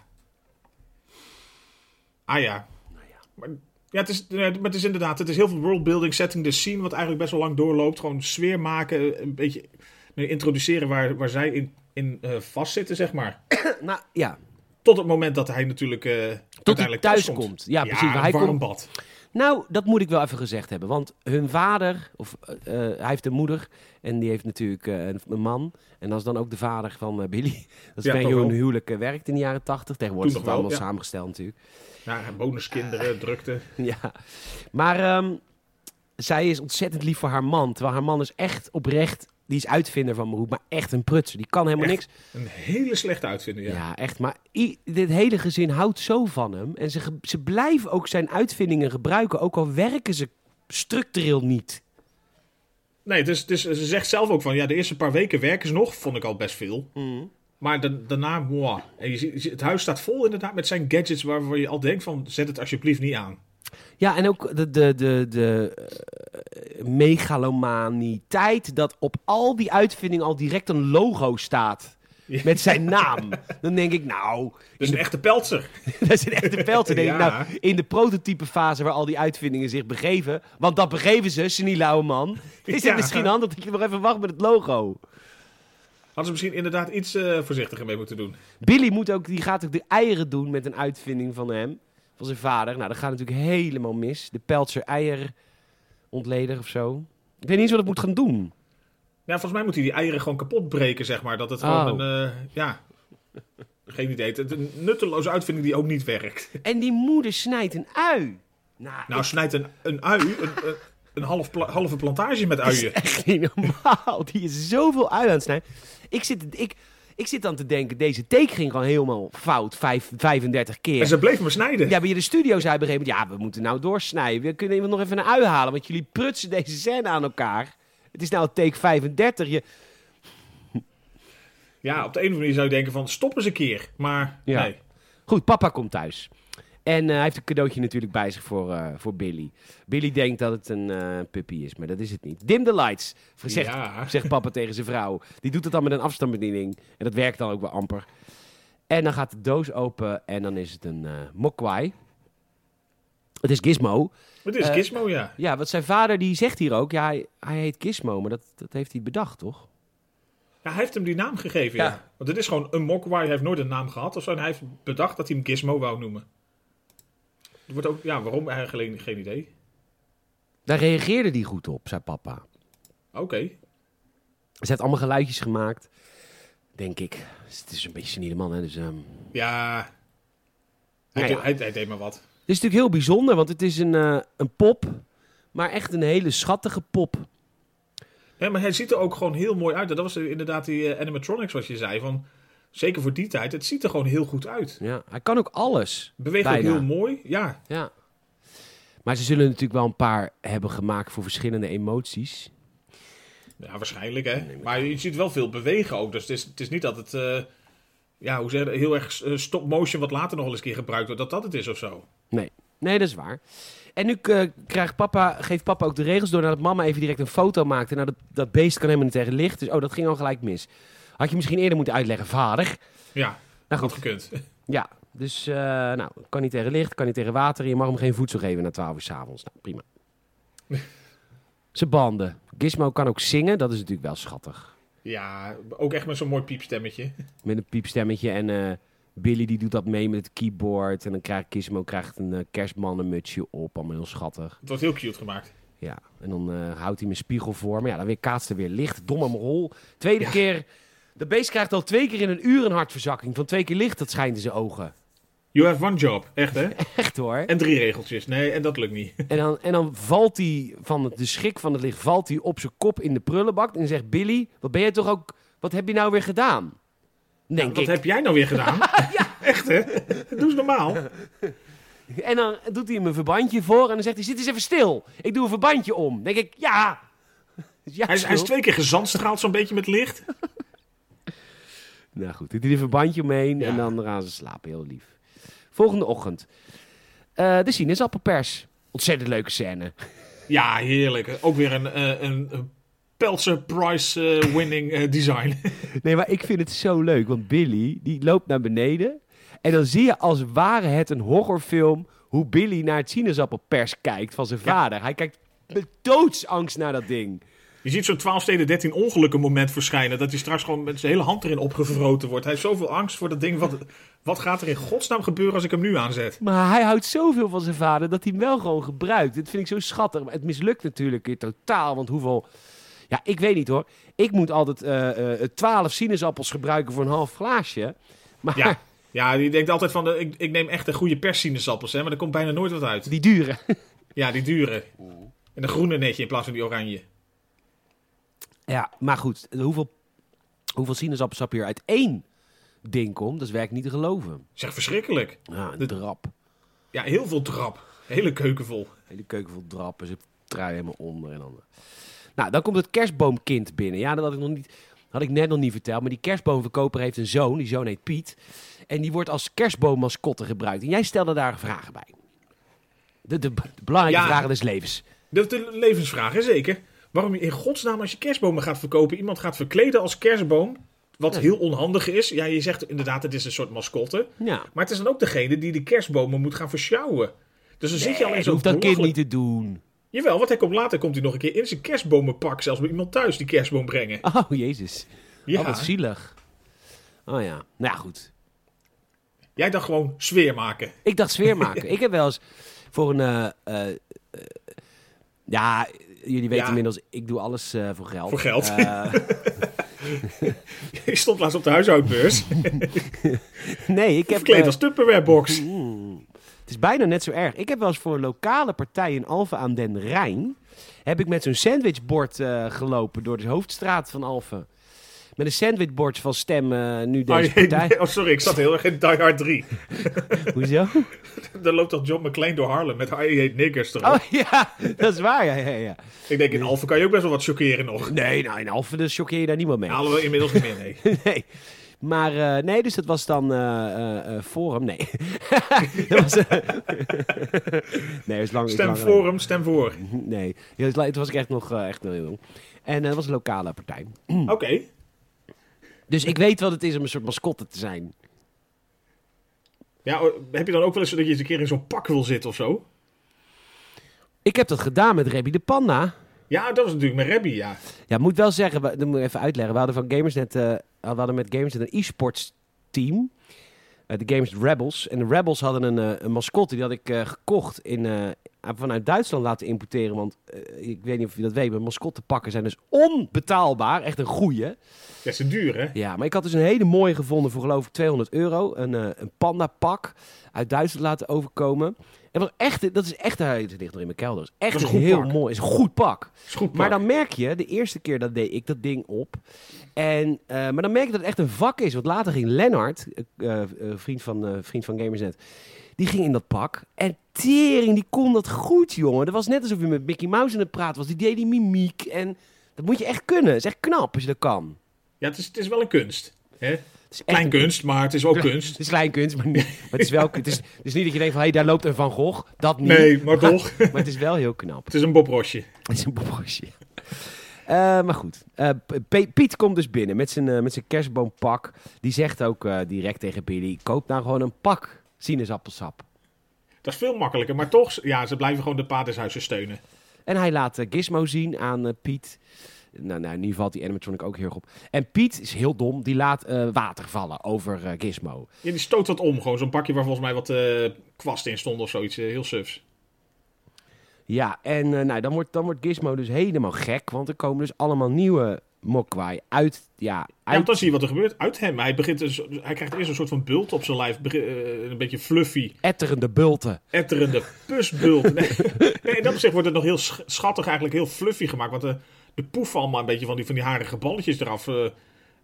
Speaker 3: Ah ja.
Speaker 2: Nou
Speaker 3: Maar, ja, het is, ja, maar het is inderdaad, het is heel veel worldbuilding, setting the scene, wat eigenlijk best wel lang doorloopt. Gewoon sfeer maken, een beetje nee, introduceren waar, waar zij in, in eh, vastzitten, zeg maar.
Speaker 2: nou, ja.
Speaker 3: Tot het moment dat hij natuurlijk eh
Speaker 2: Tot hij
Speaker 3: uiteindelijk
Speaker 2: thuis
Speaker 3: thuiskomt.
Speaker 2: komt. Ja, precies.
Speaker 3: een
Speaker 2: Hij
Speaker 3: warm
Speaker 2: komt
Speaker 3: bad.
Speaker 2: Nou, dat moet ik wel even gezegd hebben. Want hun vader, of eh, eh, hij heeft een moeder en die heeft natuurlijk eh, een, een man. En dat is dan ook de vader van eh, Billy. Dat is
Speaker 3: Ja,
Speaker 2: bij
Speaker 3: toch
Speaker 2: hun
Speaker 3: wel.
Speaker 2: huwelijk eh, werkt in de jaren tachtig. Tegenwoordig is
Speaker 3: Toen
Speaker 2: het
Speaker 3: nog wel,
Speaker 2: allemaal
Speaker 3: ja.
Speaker 2: samengesteld natuurlijk.
Speaker 3: Ja, bonuskinderen, drukte.
Speaker 2: ja. Maar ehm, zij is ontzettend lief voor haar man. Terwijl haar man is echt oprecht, die is uitvinder van beroep, maar echt een prutser. Die kan helemaal niks.
Speaker 3: Echt Een hele slechte uitvinding, ja.
Speaker 2: Ja, echt. Maar i- dit hele gezin houdt zo van hem. En ze, ge- ze blijven ook zijn uitvindingen gebruiken, ook al werken ze structureel niet.
Speaker 3: Nee, het is, het is, ze zegt zelf ook van, ja, de eerste paar weken werken ze nog, vond ik al best veel. Maar da- daarna, moi. En je ziet, je ziet- het huis staat vol inderdaad met zijn gadgets waarvan je al denkt van, zet het alsjeblieft niet aan.
Speaker 2: Ja, en ook de, de, de, de eh, megalomanieteit dat op al die uitvindingen al direct een logo staat.
Speaker 3: Ja.
Speaker 2: Met zijn naam. Dan denk ik, nou,
Speaker 3: Dus een echte peltser.
Speaker 2: dat is een echte pijl te denken.
Speaker 3: Ja.
Speaker 2: Nou, in de prototypefase waar al die uitvindingen zich begeven. Want dat begeven ze, seniele oude man. Is
Speaker 3: Ja.
Speaker 2: het misschien handig dat je nog even wacht met het logo?
Speaker 3: Hadden ze misschien inderdaad iets eh, voorzichtiger mee moeten doen.
Speaker 2: Billy moet ook, die gaat ook de eieren doen met een uitvinding van hem. Van zijn vader. Nou, dat gaat natuurlijk helemaal mis. De Peltzer eier ontleder of zo. Ik weet niet eens wat ik moet gaan doen.
Speaker 3: Ja, volgens mij moet hij die eieren gewoon kapot breken, zeg maar. Dat het
Speaker 2: Oh.
Speaker 3: gewoon een, eh, ja... Geen idee. Het, een nutteloze uitvinding die ook niet werkt.
Speaker 2: En die moeder snijdt een ui. Nou,
Speaker 3: Nou, snijdt een, een ui. Een, een- een half pla- halve plantage met uien.
Speaker 2: Echt niet normaal. Die is zoveel ui aan het snijden. Ik zit, ik, ik zit dan te denken, deze take ging gewoon helemaal fout. Vijf, 35 keer.
Speaker 3: En ze bleef maar snijden.
Speaker 2: Ja, bij de studio zei op een gegeven moment... Ja, we moeten nou doorsnijden. We kunnen iemand nog even een ui halen. Want jullie prutsen deze scène aan elkaar. Het is nou take 35. Je,
Speaker 3: Ja, op de een of andere manier zou je denken van stop eens een keer. Maar
Speaker 2: Ja.
Speaker 3: nee.
Speaker 2: Goed, papa komt thuis. En eh, hij heeft een cadeautje natuurlijk bij zich voor, eh, voor Billy. Billy denkt dat het een eh, puppy is, maar dat is het niet. Dim the lights, zegt,
Speaker 3: Ja.
Speaker 2: zegt papa tegen zijn vrouw. Die doet het dan met een afstandsbediening. En dat werkt dan ook wel amper. En dan gaat de doos open en dan is het een eh mokwai. Het is Gizmo.
Speaker 3: Het is
Speaker 2: Eh,
Speaker 3: Gizmo, ja.
Speaker 2: Ja, want zijn vader die zegt hier ook, ja, hij, hij heet Gizmo, maar dat, dat heeft hij bedacht, toch?
Speaker 3: Ja, Hij heeft hem die naam gegeven, ja.
Speaker 2: Ja.
Speaker 3: Want dit is gewoon een Mogwai. Hij heeft nooit een naam gehad of zo. En hij heeft bedacht dat hij hem Gizmo wou noemen. Er wordt ook, ja, waarom eigenlijk geen idee.
Speaker 2: Daar reageerde hij goed op, zei papa.
Speaker 3: Oké.
Speaker 2: Ze heeft allemaal geluidjes gemaakt, denk ik. Dus het is een beetje een senile man, hè. Dus, ehm,
Speaker 3: Ja. Hij,
Speaker 2: Nou ja.
Speaker 3: deed- Hij, hij deed maar wat.
Speaker 2: Het is natuurlijk heel bijzonder, want het is een, eh, een pop, maar echt een hele schattige pop.
Speaker 3: Ja, maar hij ziet er ook gewoon heel mooi uit. Dat was inderdaad die eh, animatronics wat je zei. Van, zeker voor die tijd. Het ziet er gewoon heel goed uit.
Speaker 2: Ja, hij kan ook alles.
Speaker 3: Beweegt
Speaker 2: Bijna.
Speaker 3: ook heel mooi. Ja.
Speaker 2: Ja. Maar ze zullen natuurlijk wel een paar hebben gemaakt voor verschillende emoties.
Speaker 3: ja, waarschijnlijk hè. Maar je ziet wel veel bewegen ook. Dus het is, het is niet dat het... eh, ja, hoe zeg je dat, heel erg eh, stop motion wat later nog wel eens een keer gebruikt wordt. Dat dat het is of zo.
Speaker 2: Nee, nee, dat is waar. En nu eh, krijgt papa, geeft papa ook de regels door nadat mama even direct een foto maakte. Nou, dat, dat beest kan helemaal niet tegen licht, dus oh, dat ging al gelijk mis. Had je misschien eerder moeten uitleggen, vader.
Speaker 3: Ja,
Speaker 2: Nou
Speaker 3: had
Speaker 2: goed,
Speaker 3: gekund.
Speaker 2: ja. Dus, eh, nou, kan niet tegen licht, kan niet tegen water. en Je mag hem geen voedsel geven na 12 uur s'avonds. Nou, prima. Zijn banden. Gizmo kan ook zingen, dat is natuurlijk wel schattig.
Speaker 3: Ja, ook echt met zo'n mooi piepstemmetje.
Speaker 2: Met een piepstemmetje en eh, Billy die doet dat mee met het keyboard. En dan krijgt Gizmo krijgt een eh, kerstmannenmutsje op, allemaal heel schattig.
Speaker 3: Het wordt heel cute gemaakt.
Speaker 2: Ja, en dan eh, houdt hij mijn spiegel voor. Maar ja, dan weer kaatst er weer licht. Domme rol. Tweede keer. De beest krijgt al twee keer in een uur een hartverzakking. Van twee keer licht, dat schijnt in zijn ogen.
Speaker 3: You have one job. Echt hè?
Speaker 2: Echt hoor.
Speaker 3: En drie regeltjes. Nee, en dat lukt niet.
Speaker 2: En dan, en dan valt hij van het- de schrik van het licht, valt hij op zijn kop in de prullenbak. En zegt Billy, wat ben jij toch ook, wat heb je nou weer gedaan? Denk
Speaker 3: Wat
Speaker 2: ik.
Speaker 3: heb jij nou weer gedaan? Echt hè? Doe eens normaal.
Speaker 2: En dan doet hij hem een verbandje voor en dan zegt hij, zit eens even stil. Ik doe een verbandje om. Denk ik, ja. ja
Speaker 3: Hij is, hij is
Speaker 2: stil.
Speaker 3: twee keer gezandstraald zo'n beetje met licht.
Speaker 2: Nou goed, doet hij er een bandje omheen
Speaker 3: Ja.
Speaker 2: en dan gaan ze slapen, heel lief. Volgende ochtend. Eh de sinaasappelpers. Ontzettend leuke scène.
Speaker 3: Ja, heerlijk. Ook weer een, eh, een, een Peltzer Prize eh, winning eh, design.
Speaker 2: Nee, maar ik vind het zo leuk, want Billy die loopt naar beneden. En dan zie je als ware het een horrorfilm hoe Billy naar het sinaasappelpers kijkt van zijn vader. Hij kijkt met doodsangst naar dat ding.
Speaker 3: Je ziet zo'n 12 steden 13 ongelukken moment verschijnen. Dat hij straks gewoon met zijn hele hand erin opgevroten wordt. Hij heeft zoveel angst voor dat ding. Wat, wat gaat er in godsnaam gebeuren als ik hem nu aanzet?
Speaker 2: Maar hij houdt zoveel van zijn vader dat hij hem wel gewoon gebruikt. Dat vind ik zo schattig. Maar het mislukt natuurlijk weer totaal. Want hoeveel. Ja, ik weet niet hoor. Ik moet altijd eh, twaalf sinaasappels gebruiken voor een half glaasje. Maar
Speaker 3: Ja, ja die denkt altijd van, eh, ik, ik neem echt de goede perssinasappels. Hè, maar er komt bijna nooit wat uit.
Speaker 2: die duren.
Speaker 3: Ja, die dure. En de groene netje in plaats van die oranje.
Speaker 2: Ja, maar goed. Hoeveel, hoeveel sinaasappelsap hier uit één ding komt, dat is werkelijk niet te geloven.
Speaker 3: Zeg, verschrikkelijk.
Speaker 2: Ja, een
Speaker 3: Dat-
Speaker 2: drap.
Speaker 3: Ja, heel veel drap. Hele keuken vol.
Speaker 2: Hele keuken vol drappen, zijn trui helemaal onder en dan. Nou, dan komt het kerstboomkind binnen. Ja, dat had ik nog niet. Had ik net nog niet verteld, maar die kerstboomverkoper heeft een zoon. Die zoon heet Piet. En die wordt als kerstboommascotte gebruikt. En jij stelde daar vragen bij. De, de, de belangrijke
Speaker 3: Ja.
Speaker 2: vragen des levens.
Speaker 3: Dat is de levensvraag, hè, zeker. Waarom je in godsnaam als je kerstbomen gaat verkopen... iemand gaat verkleden als kerstboom... wat
Speaker 2: Ja.
Speaker 3: heel onhandig is. Ja, je zegt inderdaad, het is een soort mascotte.
Speaker 2: Ja.
Speaker 3: Maar het is dan ook degene die de kerstbomen moet gaan versjouwen. Dus dan zit je al in
Speaker 2: Dat
Speaker 3: zo'n
Speaker 2: hoeft dat kind
Speaker 3: belachelijk-
Speaker 2: niet te doen.
Speaker 3: Jawel, want hij komt later komt hij nog een keer in zijn kerstbomenpak... zelfs bij iemand thuis die kerstboom brengen.
Speaker 2: Oh, jezus.
Speaker 3: ja.
Speaker 2: Oh, wat zielig. Oh ja. Nou ja, goed.
Speaker 3: Jij dacht gewoon sfeer maken.
Speaker 2: Ik dacht sfeer maken. ik heb wel eens voor een. eh, eh, eh, ja, jullie weten
Speaker 3: Ja.
Speaker 2: inmiddels, ik doe alles eh, voor geld.
Speaker 3: Voor geld.
Speaker 2: Eh,
Speaker 3: Ik stond laatst op de huishoudbeurs...
Speaker 2: nee, ik heb.
Speaker 3: verkleed
Speaker 2: eh,
Speaker 3: als Tupperware box.
Speaker 2: Oeh. Het is bijna net zo erg. Ik heb wel eens voor een lokale partij in Alphen aan den Rijn... heb ik met zo'n sandwichbord eh, gelopen door de hoofdstraat van Alphen. Met een sandwichbord van stem eh, nu
Speaker 3: Oh,
Speaker 2: deze
Speaker 3: jee,
Speaker 2: partij.
Speaker 3: nee, oh, sorry, ik zat heel erg in Die Hard 3.
Speaker 2: Hoezo?
Speaker 3: Daar loopt toch John McClane door Harlem met I Hate Niggers erop.
Speaker 2: Oh ja, dat is waar. Ja, ja, ja.
Speaker 3: Ik denk, in Alphen kan je ook best wel wat chockeren nog.
Speaker 2: Nee, nou, in Alphen dus choqueer je daar niemand mee.
Speaker 3: Halen we inmiddels niet meer, nee.
Speaker 2: Nee. Maar eh, nee, dus dat was dan eh, eh, eh, Forum. Nee. dat was, eh, nee, het is lang. het is
Speaker 3: Stem
Speaker 2: lang
Speaker 3: voor hem, stem voor.
Speaker 2: geleden. Hm, Nee, Ja, het is la- toen was ik echt nog eh, echt heel jong. En eh, dat was een lokale partij.
Speaker 3: Oké.
Speaker 2: Dus ik weet wat het is om een soort mascotte te zijn.
Speaker 3: Ja, oh, heb je dan ook wel eens dat je eens een keer in zo'n pak wil zitten of zo?
Speaker 2: Ik heb dat gedaan met Rebby de Panda.
Speaker 3: Ja, dat was natuurlijk mijn rabbi, ja.
Speaker 2: Ja, ik moet wel zeggen, we- dat moet ik even uitleggen. We hadden van Gamersnet, eh, we hadden met Gamersnet een e-sports team. Eh, de Games Rebels. En de Rebels hadden een, eh, een mascotte, die had ik eh, gekocht in, eh, vanuit Duitsland laten importeren. Want eh, ik weet niet of je dat weet, maar mascottepakken zijn dus onbetaalbaar. Echt een goeie.
Speaker 3: Dat is duur, hè?
Speaker 2: Ja, maar ik had dus een hele mooie gevonden voor geloof ik 200 euro. Een, eh een pandapak uit Duitsland laten overkomen. En was echt, dat is echt, eh, het ligt nog in mijn kelder. Dat is echt
Speaker 3: Dat is een
Speaker 2: een
Speaker 3: goed
Speaker 2: heel
Speaker 3: pak.
Speaker 2: mooi, is een goed pak.
Speaker 3: Is goed,
Speaker 2: Maar dan merk je, de eerste keer dat deed ik dat ding op. En, eh, maar dan merk je dat het echt een vak is. Want later ging Lennart, eh, eh, vriend, van, eh, vriend van Gamersnet, die ging in dat pak. En Tering, die kon dat goed, jongen. Dat was net alsof je met Mickey Mouse aan het praten was. Die deed die mimiek. En dat moet je echt kunnen. Dat is echt knap als je dat kan.
Speaker 3: Ja, het is, het is wel een kunst. Hè?
Speaker 2: Het is echt
Speaker 3: Klein
Speaker 2: een-
Speaker 3: kunst, maar het is ook kunst.
Speaker 2: Het is klein kunst, maar, niet- maar het is wel... Het is, het is niet dat je denkt van, hé, daar loopt een Van Gogh. Dat niet.
Speaker 3: Nee, maar toch.
Speaker 2: Maar het is wel heel knap.
Speaker 3: Het is een bobrosje.
Speaker 2: Het is een bobrosje. Eh, maar goed, Eh, P- Piet komt dus binnen met zijn, eh, met zijn kerstboompak. Die zegt ook eh, direct tegen Billy, koop nou gewoon een pak sinaasappelsap.
Speaker 3: Dat is veel makkelijker, maar toch, ja, ze blijven gewoon de paardenshuizen steunen.
Speaker 2: En hij laat eh, Gizmo zien aan eh, Piet. Nou, nou, nu valt die animatronic ook heel erg op. En Piet is heel dom, die laat eh, water vallen over eh, Gizmo.
Speaker 3: Ja, die stoot wat om, gewoon zo'n pakje waar volgens mij wat eh, kwast in stond of zoiets, eh, heel sufs.
Speaker 2: Ja, en eh, nou, dan, wordt, dan wordt Gizmo dus helemaal gek, want er komen dus allemaal nieuwe Mokwai uit. Ja,
Speaker 3: Ja, want
Speaker 2: uit.
Speaker 3: dan zie je wat er gebeurt uit hem. Hij, begint dus, hij krijgt eerst een soort van bult op zijn lijf, begin- eh, een beetje fluffy,
Speaker 2: etterende bulten.
Speaker 3: etterende pusbult. Nee, nee, in dat opzicht wordt het nog heel sch- schattig, eigenlijk heel fluffy gemaakt, want eh, de poeven allemaal een beetje van die, van die harige balletjes eraf. eh,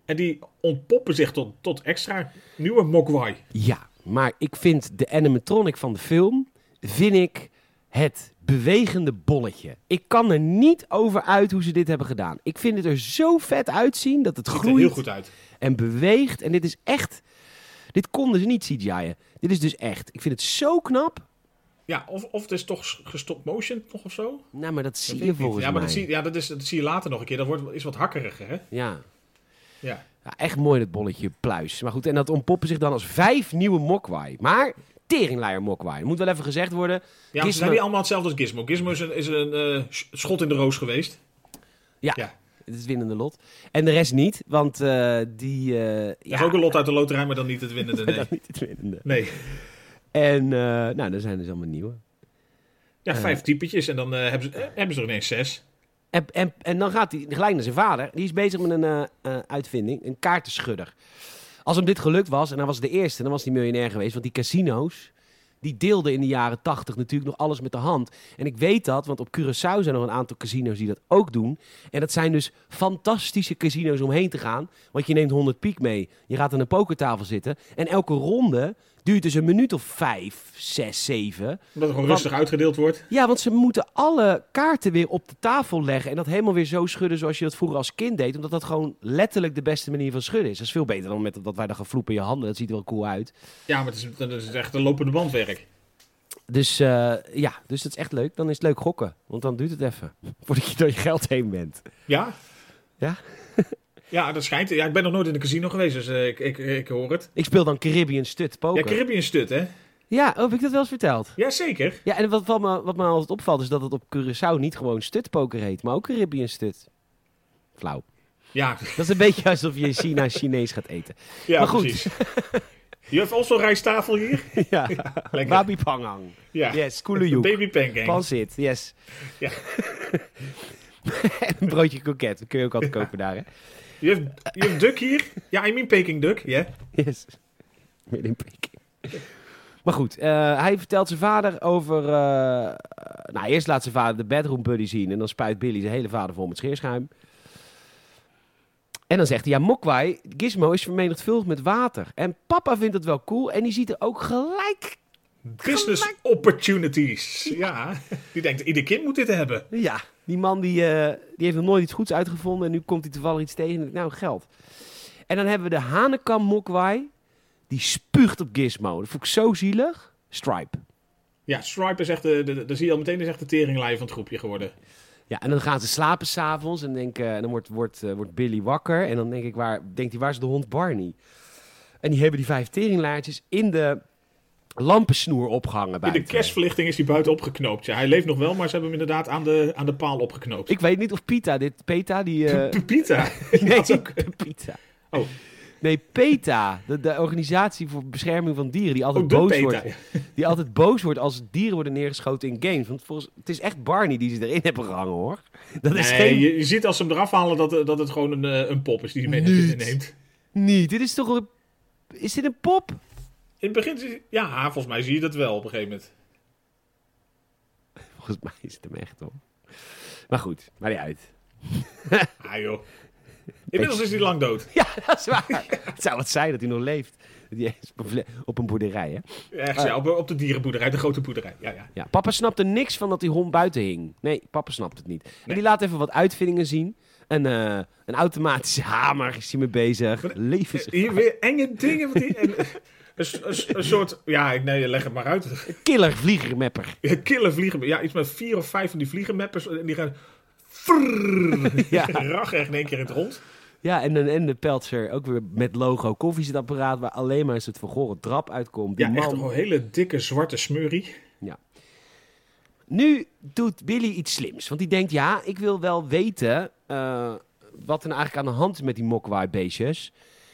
Speaker 3: en die ontpoppen zich tot, tot extra nieuwe mogwai.
Speaker 2: Ja, maar ik vind de animatronic van de film, vind ik het bewegende bolletje. Ik kan er niet over uit hoe ze dit hebben gedaan. Ik vind het er zo vet uitzien dat het
Speaker 3: Ziet er heel
Speaker 2: groeit
Speaker 3: goed uit.
Speaker 2: en beweegt. En dit is echt, dit konden ze niet CGI'en. Dit is dus echt, ik vind het zo knap.
Speaker 3: Ja, of, of het is toch gestop motion nog of zo?
Speaker 2: Nou, maar dat zie
Speaker 3: Weet
Speaker 2: je
Speaker 3: ik niet.
Speaker 2: volgens
Speaker 3: ja, maar
Speaker 2: mij.
Speaker 3: Dat, zie, ja, dat, is, dat zie je later nog een keer. Dat wordt, is wat hakkeriger, hè?
Speaker 2: Ja.
Speaker 3: Ja.
Speaker 2: Ja, echt mooi dat bolletje pluis. Maar goed, en dat ontpoppen zich dan als vijf nieuwe mokwai. Maar teringleier mokwai. Dat moet wel even gezegd worden.
Speaker 3: Ja,
Speaker 2: Gizmo-
Speaker 3: ze zijn niet allemaal hetzelfde als Gizmo. Gizmo is een, is een eh, sch- schot in de roos geweest.
Speaker 2: Ja.
Speaker 3: ja.
Speaker 2: Het is het winnende lot. En de rest niet, want eh, die... eh,
Speaker 3: Dat
Speaker 2: ja,
Speaker 3: is ook een lot uit de loterij, maar dan niet het winnende. Nee.
Speaker 2: dat niet het winnende.
Speaker 3: nee.
Speaker 2: En eh, nou, er zijn dus allemaal nieuwe.
Speaker 3: Ja, vijf typetjes en dan eh, hebben, ze, eh, hebben ze er ineens zes.
Speaker 2: En, en, en dan gaat hij gelijk naar zijn vader. Die is bezig met een eh, eh, uitvinding, een kaartenschudder. Als hem dit gelukt was, en hij was de eerste, dan was hij miljonair geweest. Want die casino's, die deelden in de jaren tachtig natuurlijk nog alles met de hand. En ik weet dat, want op Curaçao zijn nog een aantal casino's die dat ook doen. En dat zijn dus fantastische casino's omheen te gaan. Want je neemt 100 piek mee, je gaat aan een pokertafel zitten. En elke ronde duurt dus een minuut of vijf, zes, zeven.
Speaker 3: Omdat er gewoon
Speaker 2: Wat-
Speaker 3: rustig uitgedeeld wordt.
Speaker 2: Ja, want ze moeten alle kaarten weer op de tafel leggen. En dat helemaal weer zo schudden zoals je dat vroeger als kind deed. Omdat dat gewoon letterlijk de beste manier van schudden is. Dat is veel beter dan met dat wij dan gaan vloepen in je handen. Dat ziet er wel cool uit.
Speaker 3: Ja, maar het is, dat is echt een lopende bandwerk.
Speaker 2: Dus eh, ja, dus dat is echt leuk. Dan is het leuk gokken. Want dan duurt het even. Voordat je door je geld heen bent.
Speaker 3: Ja?
Speaker 2: Ja?
Speaker 3: Ja, dat schijnt. Ja, ik ben nog nooit in een casino geweest, dus eh, ik, ik, ik hoor het.
Speaker 2: Ik speel dan Caribbean Stud
Speaker 3: Ja,
Speaker 2: poker. Ja,
Speaker 3: Caribbean stut, hè?
Speaker 2: oh, heb ik dat wel eens verteld?
Speaker 3: Jazeker.
Speaker 2: Ja, en wat, wat, me, wat me altijd opvalt is dat het op Curaçao niet gewoon stutpoker heet. Maar ook Caribbean Stud. Flauw.
Speaker 3: Ja,
Speaker 2: Dat is een beetje alsof je in China Chinees gaat eten.
Speaker 3: ja
Speaker 2: Maar goed.
Speaker 3: precies. Je hebt ook zo'n rijsttafel hier?
Speaker 2: Ja,
Speaker 3: Lekker.
Speaker 2: Wabi Pangang.
Speaker 3: Ja.
Speaker 2: Yes, koele joek.
Speaker 3: Baby pancake.
Speaker 2: Pansit, yes.
Speaker 3: Ja.
Speaker 2: een broodje koket, dat kun je ook altijd kopen daar, hè?
Speaker 3: Je hebt, je hebt duck hier? Ja, I mean Peking duck, ja.
Speaker 2: Yes. Midden in Peking. Maar goed, eh, hij vertelt zijn vader over... eh, nou, eerst laat zijn vader de bedroom buddy zien... en dan spuit Billy zijn hele vader vol met scheerschuim. En dan zegt hij, ja, Mokwai, Gizmo is vermenigvuldigd met water. En papa vindt dat wel cool en die ziet er ook gelijk...
Speaker 3: Business opportunities. Ja. Die denkt, ieder kind moet dit hebben.
Speaker 2: Ja, die man die, eh, die heeft nog nooit iets goeds uitgevonden... en nu komt hij toevallig iets tegen en denkt, nou, geld. En dan hebben we de hanekam Mokwai. Die spuugt op Gizmo. Dat vond ik zo zielig. Stripe.
Speaker 3: Ja, Stripe is echt, de, de, daar zie je al meteen, is echt de teringlijn van het groepje geworden.
Speaker 2: Ja, en dan gaan ze slapen s'avonds en, denk, eh, en dan wordt, wordt, eh, wordt Billy wakker. En dan denk ik, waar, denkt hij, waar is de hond Barney? En die hebben die vijf teringlaartjes in de lampensnoer opgehangen
Speaker 3: In
Speaker 2: buiten.
Speaker 3: de kerstverlichting is hij buiten opgeknoopt. Ja, hij leeft nog wel, maar ze hebben hem inderdaad aan de, aan de paal opgeknoopt.
Speaker 2: Ik weet niet of Pita dit... Peta, die... eh,
Speaker 3: Pepita.
Speaker 2: nee,
Speaker 3: had ook-
Speaker 2: Pita.
Speaker 3: Oh.
Speaker 2: Nee, PETA, de, de organisatie voor bescherming van dieren, die altijd,
Speaker 3: Oh, de
Speaker 2: boos
Speaker 3: PETA.
Speaker 2: wordt, die altijd boos wordt als dieren worden neergeschoten in games. Want volgens, het is echt Barney die ze erin hebben gehangen, hoor. Dat is
Speaker 3: Nee,
Speaker 2: geen...
Speaker 3: je, je ziet als ze hem eraf halen dat, eh, dat het gewoon een, eh, een pop is die hij mee naar
Speaker 2: Niet.
Speaker 3: binnen neemt.
Speaker 2: Niet, dit is toch een... Is dit een pop?
Speaker 3: In het begin, zie- ja, volgens mij zie je dat wel op een gegeven moment.
Speaker 2: Volgens mij is het hem echt hoor. Maar goed, maar niet uit.
Speaker 3: Ah joh. Inmiddels is hij lang dood.
Speaker 2: Ja, dat is waar. Het zou wat zijn dat hij nog leeft. Dat hij ergens op een vle- op een boerderij, hè?
Speaker 3: Echt, ja, op, op de dierenboerderij, de grote boerderij. Ja, ja.
Speaker 2: Ja, papa snapte niks van dat die hond buiten hing. Nee, papa snapt het niet. En die laat even wat uitvindingen zien. Een, eh, een automatische hamer is hij mee bezig. Levens...
Speaker 3: Hier weer enge dingen. Met die, en, een, s- een s- een soort, ja, ik, nee, leg het maar uit.
Speaker 2: Killer vliegermepper.
Speaker 3: Killer vliegen. Ja, iets met vier of vijf van die vliegenmappers. En die gaan... Frrrr,
Speaker 2: Ja.
Speaker 3: Rag echt in één keer in het rond.
Speaker 2: Ja, en, dan- en de peltser ook weer met logo koffiezetapparaat... waar alleen maar een soort vergoren drap uitkomt. Die
Speaker 3: Ja, echt
Speaker 2: man...
Speaker 3: een hele dikke zwarte smurrie.
Speaker 2: Ja. Nu doet Billy iets slims. Want die denkt, ja, ik wil wel weten eh, wat er nou eigenlijk aan de hand is met die mokwaai-beestjes.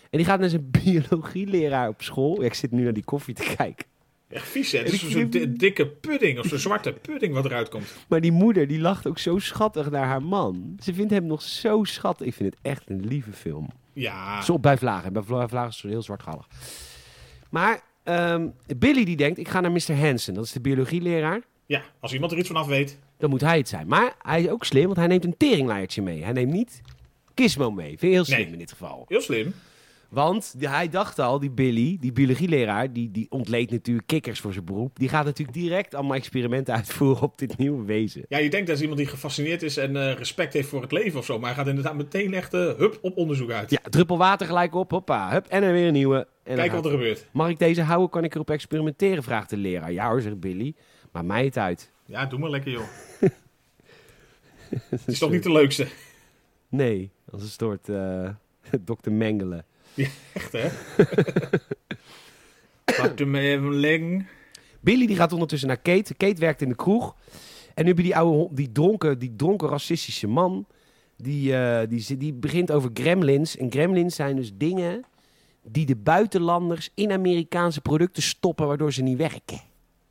Speaker 2: En die gaat naar zijn biologieleraar op school. Ja, ik zit nu naar die koffie te kijken.
Speaker 3: Echt vies, hè? Het
Speaker 2: Ik-
Speaker 3: is zo'n di- dikke pudding of zo'n zwarte pudding wat eruit komt.
Speaker 2: Maar die moeder, die lacht ook zo schattig naar haar man. Ze vindt hem nog zo schattig. Ik vind het echt een lieve film.
Speaker 3: Ja,
Speaker 2: Zo bij Vlagen. Bij Vla- Vlagen is het heel zwartgallig. Maar ehm, Billy die denkt, ik ga naar Mr. Hansen. Dat is de biologieleraar.
Speaker 3: ja, als iemand er iets van af weet.
Speaker 2: dan moet hij het zijn. Maar hij is ook slim, want hij neemt een teringlaartje mee. Hij neemt niet Gizmo mee. Vind je heel slim
Speaker 3: Nee.
Speaker 2: in dit geval.
Speaker 3: Heel slim.
Speaker 2: Want die- hij dacht al, die Billy, die biologieleraar, die, die ontleed natuurlijk kikkers voor zijn beroep. Die gaat natuurlijk direct allemaal experimenten uitvoeren op dit nieuwe wezen.
Speaker 3: Ja, je denkt dat is iemand die gefascineerd is en eh, respect heeft voor het leven of zo. Maar hij gaat inderdaad meteen echt eh, hup op onderzoek uit.
Speaker 2: Ja, druppel water gelijk op, hoppa, hup, en dan weer een nieuwe. En dan
Speaker 3: Kijk
Speaker 2: gaat-
Speaker 3: wat er gebeurt.
Speaker 2: Mag ik deze houden? Kan ik erop experimenteren? Vraagt de leraar. Ja hoor, zegt Billy. Maar mij het uit.
Speaker 3: Ja, doe maar lekker, joh. Het is toch niet de leukste?
Speaker 2: Nee, als een soort eh dokter Mengelen.
Speaker 3: Echt, hè? Pak hem even leng.
Speaker 2: Billy die gaat ondertussen naar Kate. Kate werkt in de kroeg. En nu heb je die oude, hond- die dronken, die dronken racistische man. Die, eh, die, zi- die begint over gremlins. En gremlins zijn dus dingen die de buitenlanders in Amerikaanse producten stoppen, waardoor ze niet werken.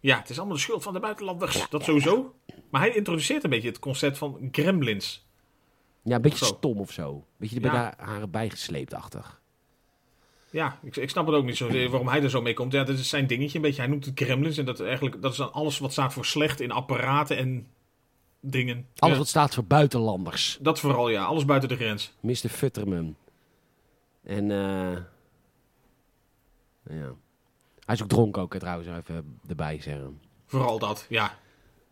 Speaker 3: Ja, het is allemaal de schuld van de buitenlanders. Dat sowieso. Maar hij introduceert een beetje het concept van gremlins.
Speaker 2: Ja, een beetje
Speaker 3: Zo.
Speaker 2: stom of zo. Beetje er bij
Speaker 3: Ja.
Speaker 2: de haren bijgesleept-achtig.
Speaker 3: Ja, ik, ik snap het ook niet zozeer waarom hij er zo mee komt. Ja, dat is zijn dingetje een beetje. Hij noemt het gremlins. En dat, eigenlijk, dat is dan alles wat staat voor slecht in apparaten en dingen.
Speaker 2: Alles
Speaker 3: Ja,
Speaker 2: wat staat voor buitenlanders.
Speaker 3: Dat vooral, ja. Alles buiten de grens.
Speaker 2: Mr. Futterman. En, eh ja. Hij is ook dronken ook, hè, trouwens, even erbij zeggen.
Speaker 3: Vooral dat, ja.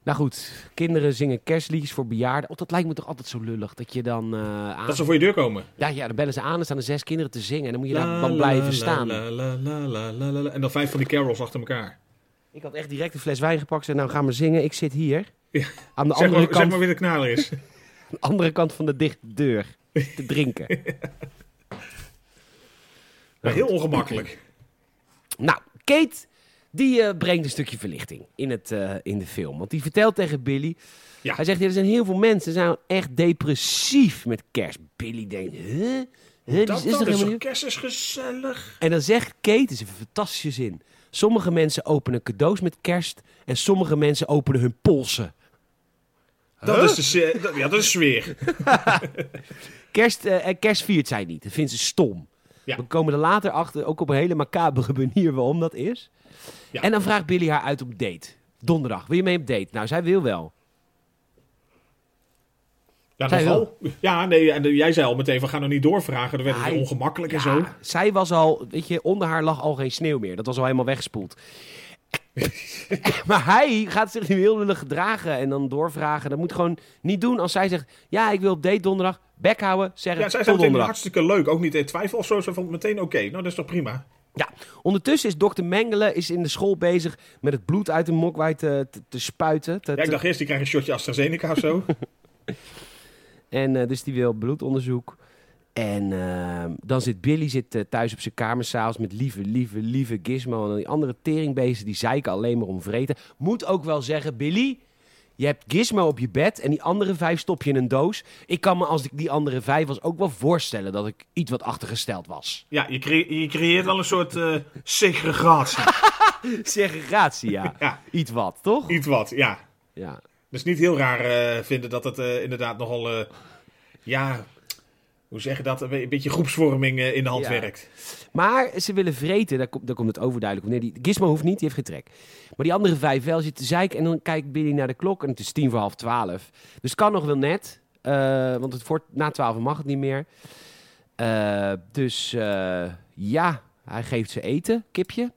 Speaker 2: Nou goed, kinderen zingen kerstliedjes voor bejaarden. Oh, dat lijkt me toch altijd zo lullig. Dat je dan eh, aan...
Speaker 3: Dat ze voor je deur komen.
Speaker 2: Ja, ja, dan bellen ze aan en staan er zes kinderen te zingen. En dan moet je
Speaker 3: La,
Speaker 2: daar dan
Speaker 3: la,
Speaker 2: blijven
Speaker 3: la,
Speaker 2: staan.
Speaker 3: la, la, la, la, la, la, la. En dan vijf van die carols achter elkaar.
Speaker 2: Ik had echt direct een fles wijn gepakt. Zei, nou, ga maar zingen. Ik zit hier.
Speaker 3: Ja.
Speaker 2: Aan de
Speaker 3: Zeg
Speaker 2: andere,
Speaker 3: maar, zeg
Speaker 2: kant,
Speaker 3: maar wie de knaler is.
Speaker 2: aan de andere kant van de dichte deur. Te drinken.
Speaker 3: Maar heel ongemakkelijk.
Speaker 2: nou, Kate, die eh, brengt een stukje verlichting in, het, eh, in de film. Want die vertelt tegen Billy...
Speaker 3: Ja.
Speaker 2: Hij zegt, ja, er zijn heel veel mensen die zijn echt depressief met kerst. Billy denkt, huh? Huh,
Speaker 3: Dat
Speaker 2: er
Speaker 3: is
Speaker 2: helemaal niet-
Speaker 3: toch kerst is gezellig.
Speaker 2: En dan zegt Kate, het is een fantastische zin. Sommige mensen openen cadeaus met kerst en sommige mensen openen hun polsen.
Speaker 3: Dat is de se- dat- ja, dat is sfeer.
Speaker 2: Kerst, eh, eh, kerst viert zij niet, dat vindt ze stom.
Speaker 3: Ja.
Speaker 2: We komen er later achter, ook op een hele macabere manier waarom dat is.
Speaker 3: Ja.
Speaker 2: En dan vraagt Billy haar uit op date. Donderdag, wil je mee op date? Nou, zij wil wel.
Speaker 3: Ja,
Speaker 2: Zij
Speaker 3: dat al. Ja, nee, en jij zei al meteen, we gaan er niet doorvragen. Dan werd het
Speaker 2: Hij-
Speaker 3: ongemakkelijk en
Speaker 2: Ja,
Speaker 3: zo.
Speaker 2: Zij was al, weet je, onder haar lag al geen sneeuw meer. Dat was al helemaal weggespoeld. maar hij gaat zich nu heel lullig gedragen en dan doorvragen. Dat moet gewoon niet doen als zij zegt, ja, ik wil op date donderdag. Bek houden, zeggen
Speaker 3: Ja, zij
Speaker 2: tot
Speaker 3: zijn meteen
Speaker 2: donderdag.
Speaker 3: hartstikke leuk. Ook niet in twijfel of zo. Ze vond het meteen oké. Nou, dat is toch prima?
Speaker 2: Ja, ondertussen is dokter Mengele is in de school bezig met het bloed uit de mokwai te, te, te spuiten. te-
Speaker 3: Ja, ik
Speaker 2: te-
Speaker 3: dacht eerst, die krijgt een shotje AstraZeneca of zo.
Speaker 2: En eh, dus die wil bloedonderzoek. En ehm, dan zit Billy zit, eh, thuis op zijn kamer s'avonds met lieve, lieve, lieve Gizmo. En die andere teringbeesten die zeiken alleen maar om vreten. Moet ook wel zeggen, Billy, je hebt Gizmo op je bed en die andere vijf stop je in een doos. Ik kan me als ik die andere vijf was ook wel voorstellen dat ik iets wat achtergesteld was.
Speaker 3: ja, je, cre- je creëert wel een soort eh, segregatie.
Speaker 2: Segregatie, ja.
Speaker 3: Ja.
Speaker 2: Iets wat, toch?
Speaker 3: Iets wat, ja.
Speaker 2: Ja.
Speaker 3: Dus niet heel raar eh, vinden dat het eh, inderdaad nogal... eh, ja, hoe zeg je dat? Een be- een beetje groepsvorming eh, in de hand
Speaker 2: Ja.
Speaker 3: werkt.
Speaker 2: Maar ze willen vreten, daar, komt- daar komt het overduidelijk op neer. Die, Gizmo hoeft niet, die heeft geen trek. Maar die andere vijf wel zitten te zeiken. En dan kijkt Billy naar de klok en het is tien voor half twaalf. Dus het kan nog wel net, eh, want het voor, na twaalf mag het niet meer. Eh, dus eh, ja, hij geeft ze eten, kipje.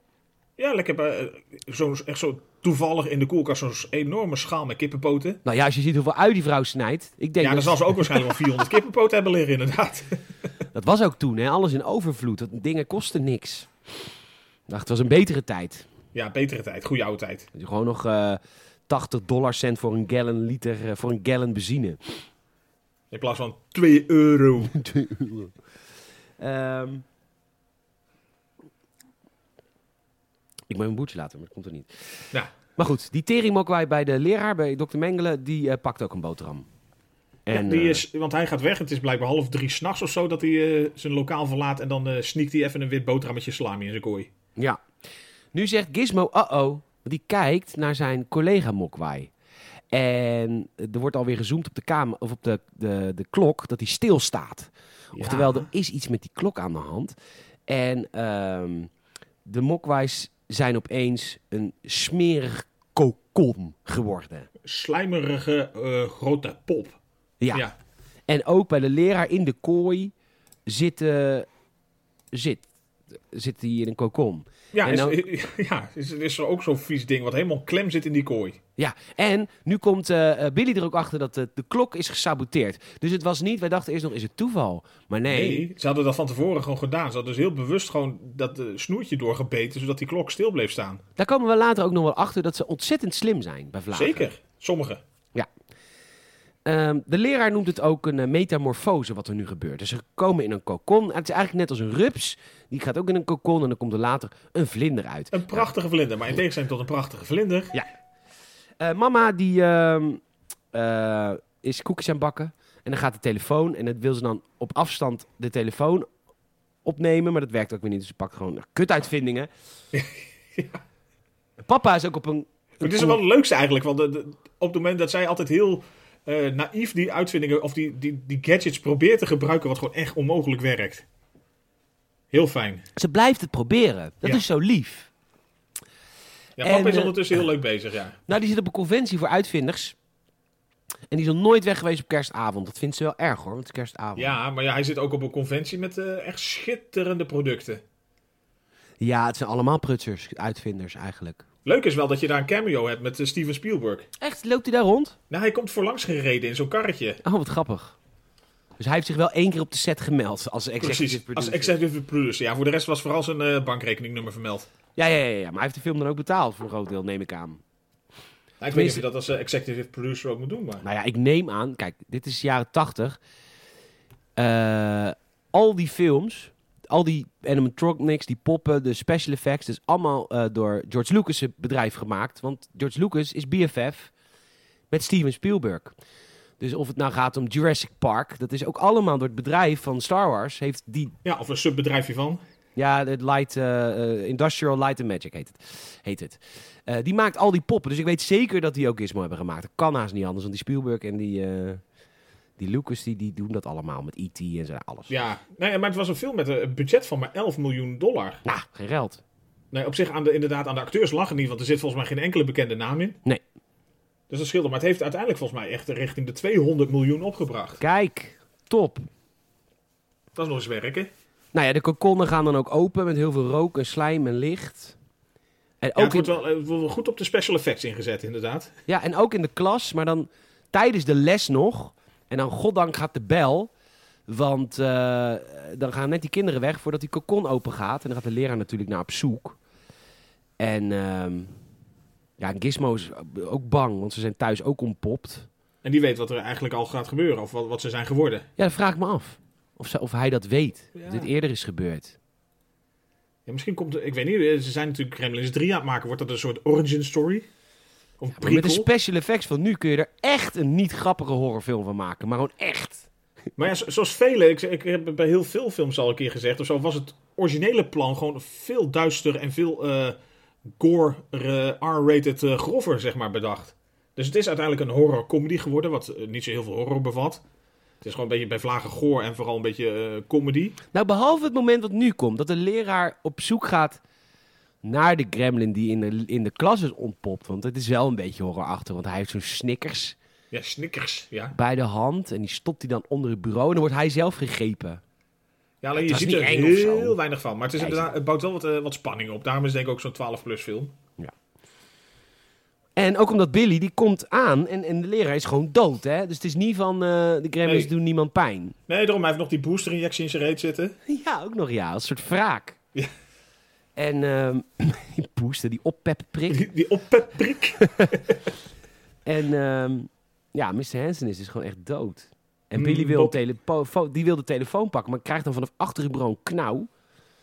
Speaker 3: Ja, lekker. eh, zo'n- echt zo toevallig in de koelkast zo'n enorme schaal met kippenpoten.
Speaker 2: Nou ja, als je ziet hoeveel ui die vrouw snijdt. Ik denk
Speaker 3: Ja, dan
Speaker 2: dat,
Speaker 3: zal ze ook waarschijnlijk wel 400 kippenpoten hebben liggen, inderdaad.
Speaker 2: dat was ook toen, hè? alles in overvloed. Dat, dingen kosten niks. Ik dacht, het was een betere tijd.
Speaker 3: Ja, betere tijd. Goede oude tijd.
Speaker 2: Dat je Gewoon nog eh 80 dollar cent voor een gallon liter, eh, voor een gallon benzine.
Speaker 3: In plaats van 2 euro.
Speaker 2: Ehm. ik moet mijn boertje laten, maar dat komt er niet.
Speaker 3: Ja.
Speaker 2: Maar goed, die teringmokwai bij de leraar, bij dokter Mengele, die eh, pakt ook een boterham. En,
Speaker 3: die
Speaker 2: eh,
Speaker 3: is, want hij gaat weg. Het is blijkbaar half drie s'nachts of zo dat hij eh, zijn lokaal verlaat. En dan eh sneakt hij even een wit boterhammetje salami in zijn kooi.
Speaker 2: ja. Nu zegt Gizmo, uh-oh, want die kijkt naar zijn collega mokwai. En er wordt alweer gezoomd op de, kamer, of op de, de, de klok dat hij stilstaat.
Speaker 3: Ja.
Speaker 2: Oftewel, er is iets met die klok aan de hand. En ehm, de mokwais zijn opeens een smerig kokon geworden.
Speaker 3: Slijmerige eh, grote pop.
Speaker 2: Ja.
Speaker 3: Ja.
Speaker 2: En ook bij de leraar in de kooi zit, eh, zit, zit die in een kokon.
Speaker 3: Ja,
Speaker 2: En
Speaker 3: is,
Speaker 2: nou-
Speaker 3: ja is, is er ook zo'n vies ding wat helemaal klem zit in die kooi.
Speaker 2: Ja, en nu komt eh, eh, Billy er ook achter dat de, de klok is gesaboteerd. Dus het was niet, wij dachten eerst nog, is het toeval? Maar nee,
Speaker 3: Nee, ze hadden dat van tevoren gewoon gedaan. Ze hadden dus heel bewust gewoon dat eh, snoertje doorgebeten, zodat die klok stil bleef staan.
Speaker 2: daar komen we later ook nog wel achter dat ze ontzettend slim zijn bij Vlaanderen.
Speaker 3: Zeker, sommigen.
Speaker 2: Ehm, de leraar noemt het ook een eh, metamorfose wat er nu gebeurt. Dus ze komen in een kokon. Het is eigenlijk net als een rups. Die gaat ook in een kokon en dan komt er later een vlinder uit.
Speaker 3: Een prachtige vlinder, maar in tegenstelling tot een prachtige vlinder.
Speaker 2: Eh, mama die ehm, eh, is koekjes aan het bakken. En dan gaat de telefoon. En dat wil ze dan op afstand de telefoon opnemen. Maar dat werkt ook weer niet. Dus ze pakt gewoon kutuitvindingen. Papa is ook op een...
Speaker 3: Maar dit is wel het leukste eigenlijk, want de- de- op het moment dat zij altijd heel eh, naïef die uitvindingen of die, die, die gadgets probeert te gebruiken, wat gewoon echt onmogelijk werkt. Heel fijn.
Speaker 2: Ze blijft het proberen. Dat
Speaker 3: Ja.
Speaker 2: is zo lief.
Speaker 3: Ja,
Speaker 2: En,
Speaker 3: papa is
Speaker 2: eh,
Speaker 3: ondertussen heel leuk bezig, ja.
Speaker 2: Nou, die zit op een conventie voor uitvinders. En die is nog nooit weg geweest op kerstavond. Dat vindt ze wel erg hoor, want het is kerstavond.
Speaker 3: Ja, maar ja, hij zit ook op een conventie met eh, echt schitterende producten.
Speaker 2: Ja, het zijn allemaal prutsers, uitvinders eigenlijk.
Speaker 3: Leuk is wel dat je daar een cameo hebt met eh, Steven Spielberg.
Speaker 2: Echt? Loopt hij daar rond?
Speaker 3: Nou, hij komt voorlangs gereden in zo'n karretje.
Speaker 2: Oh, wat grappig. Dus hij heeft zich wel één keer op de set gemeld als executive
Speaker 3: Precies, als
Speaker 2: producer.
Speaker 3: executive producer. Ja, voor de rest was vooral zijn eh, bankrekeningnummer vermeld.
Speaker 2: ja, ja, ja, ja, maar hij heeft de film dan ook betaald voor een groot deel, neem ik aan.
Speaker 3: Nou, ik weet niet of je dat als eh, executive producer ook moet doen, maar...
Speaker 2: Nou ja, ik neem aan, kijk, dit is jaren tachtig. Eh, al die films, al die animatronics, die poppen, de special effects, dat is allemaal eh, door George Lucas' bedrijf gemaakt. Want George Lucas is BFF met Steven Spielberg. Dus of het nou gaat om Jurassic Park, dat is ook allemaal door het bedrijf van Star Wars. Heeft die,
Speaker 3: Ja, of een subbedrijfje van.
Speaker 2: ja, het Light, eh, eh, Industrial Light and Magic heet het. Heet het. Eh, die maakt al die poppen, dus ik weet zeker dat die ook Gizmo hebben gemaakt. Dat kan haast niet anders, want die Spielberg en die, eh, die Lucas, die, die doen dat allemaal met E.T. en zo, alles.
Speaker 3: eh, Ja, nee, maar het was een film met een budget van maar 11 miljoen dollar.
Speaker 2: Nou, geen geld.
Speaker 3: Nee, op zich aan de, inderdaad aan de acteurs lachen niet, want er zit volgens mij geen enkele bekende naam in.
Speaker 2: Nee.
Speaker 3: Dus dat scheelt. Maar het heeft uiteindelijk volgens mij echt richting de 200 miljoen opgebracht.
Speaker 2: Kijk, top.
Speaker 3: Dat is nog eens werken.
Speaker 2: Nou ja, de kokonnen gaan dan ook open met heel veel rook en slijm en licht. En
Speaker 3: Ja,
Speaker 2: ook
Speaker 3: het
Speaker 2: in,
Speaker 3: wordt wel, eh, wordt wel goed op de special effects ingezet, inderdaad.
Speaker 2: ja, en ook in de klas, maar dan tijdens de les nog. En dan, goddank, gaat de bel. Want eh, dan gaan net die kinderen weg voordat die kokon open gaat. En dan gaat de leraar natuurlijk naar op zoek. En ehm, ja, Gizmo is ook bang, want ze zijn thuis ook ontpopt.
Speaker 3: En die weet wat er eigenlijk al gaat gebeuren, of wat, wat ze zijn geworden.
Speaker 2: Ja, dat vraag ik me af. Of, ze- of hij dat weet.
Speaker 3: Ja.
Speaker 2: Of dit eerder is gebeurd.
Speaker 3: Ja, misschien komt er, ik weet niet, eh, ze zijn natuurlijk Gremlins 3 aan het maken. Wordt dat een soort origin story? Of
Speaker 2: Maar met de
Speaker 3: prequel?
Speaker 2: special effects van nu kun je er echt een niet grappige horrorfilm van maken. Maar gewoon echt.
Speaker 3: Maar ja, zo- zoals vele, ik, ik heb het bij heel veel films al een keer gezegd of zo, was het originele plan gewoon veel duister en veel eh, gore, eh, R-rated, eh, grover, zeg maar, bedacht. Dus het is uiteindelijk een horror-comedy geworden, wat eh, niet zo heel veel horror bevat. Het is gewoon een beetje bij vlagen goor en vooral een beetje eh, comedy.
Speaker 2: Nou, behalve het moment wat nu komt. Dat de leraar op zoek gaat naar de gremlin die in de, in de klas is ontpopt. Want het is wel een beetje horrorachtig. Want hij heeft zo'n snickers
Speaker 3: Ja, snickers, ja.
Speaker 2: bij de hand. En die stopt hij dan onder het bureau. En dan wordt hij zelf gegrepen.
Speaker 3: Ja, alleen
Speaker 2: Het
Speaker 3: je
Speaker 2: was
Speaker 3: ziet
Speaker 2: niet
Speaker 3: er
Speaker 2: eng of zo.
Speaker 3: heel weinig van. Maar het, is
Speaker 2: Ja, je
Speaker 3: inderdaad, het bouwt wel wat, eh, wat spanning op. Daarom is het denk ik ook zo'n 12-plus film.
Speaker 2: En ook omdat Billy, die komt aan. En, en de leraar is gewoon dood, hè. Dus het is niet van, eh, de gremlins
Speaker 3: Nee.
Speaker 2: doen niemand pijn.
Speaker 3: Nee, daarom, hij heeft nog die boosterinjectie in zijn reet zitten.
Speaker 2: Ja, ook nog ja. Als een soort wraak.
Speaker 3: Ja.
Speaker 2: En ehm, die poester, die oppepprik.
Speaker 3: Die, die oppepprik.
Speaker 2: En ehm, ja, Mr. Hansen is dus gewoon echt dood. En
Speaker 3: Mm,
Speaker 2: Billy wil,
Speaker 3: Bob-
Speaker 2: telepo- die wil de telefoon pakken, maar krijgt dan vanaf achter het bureau een knauw.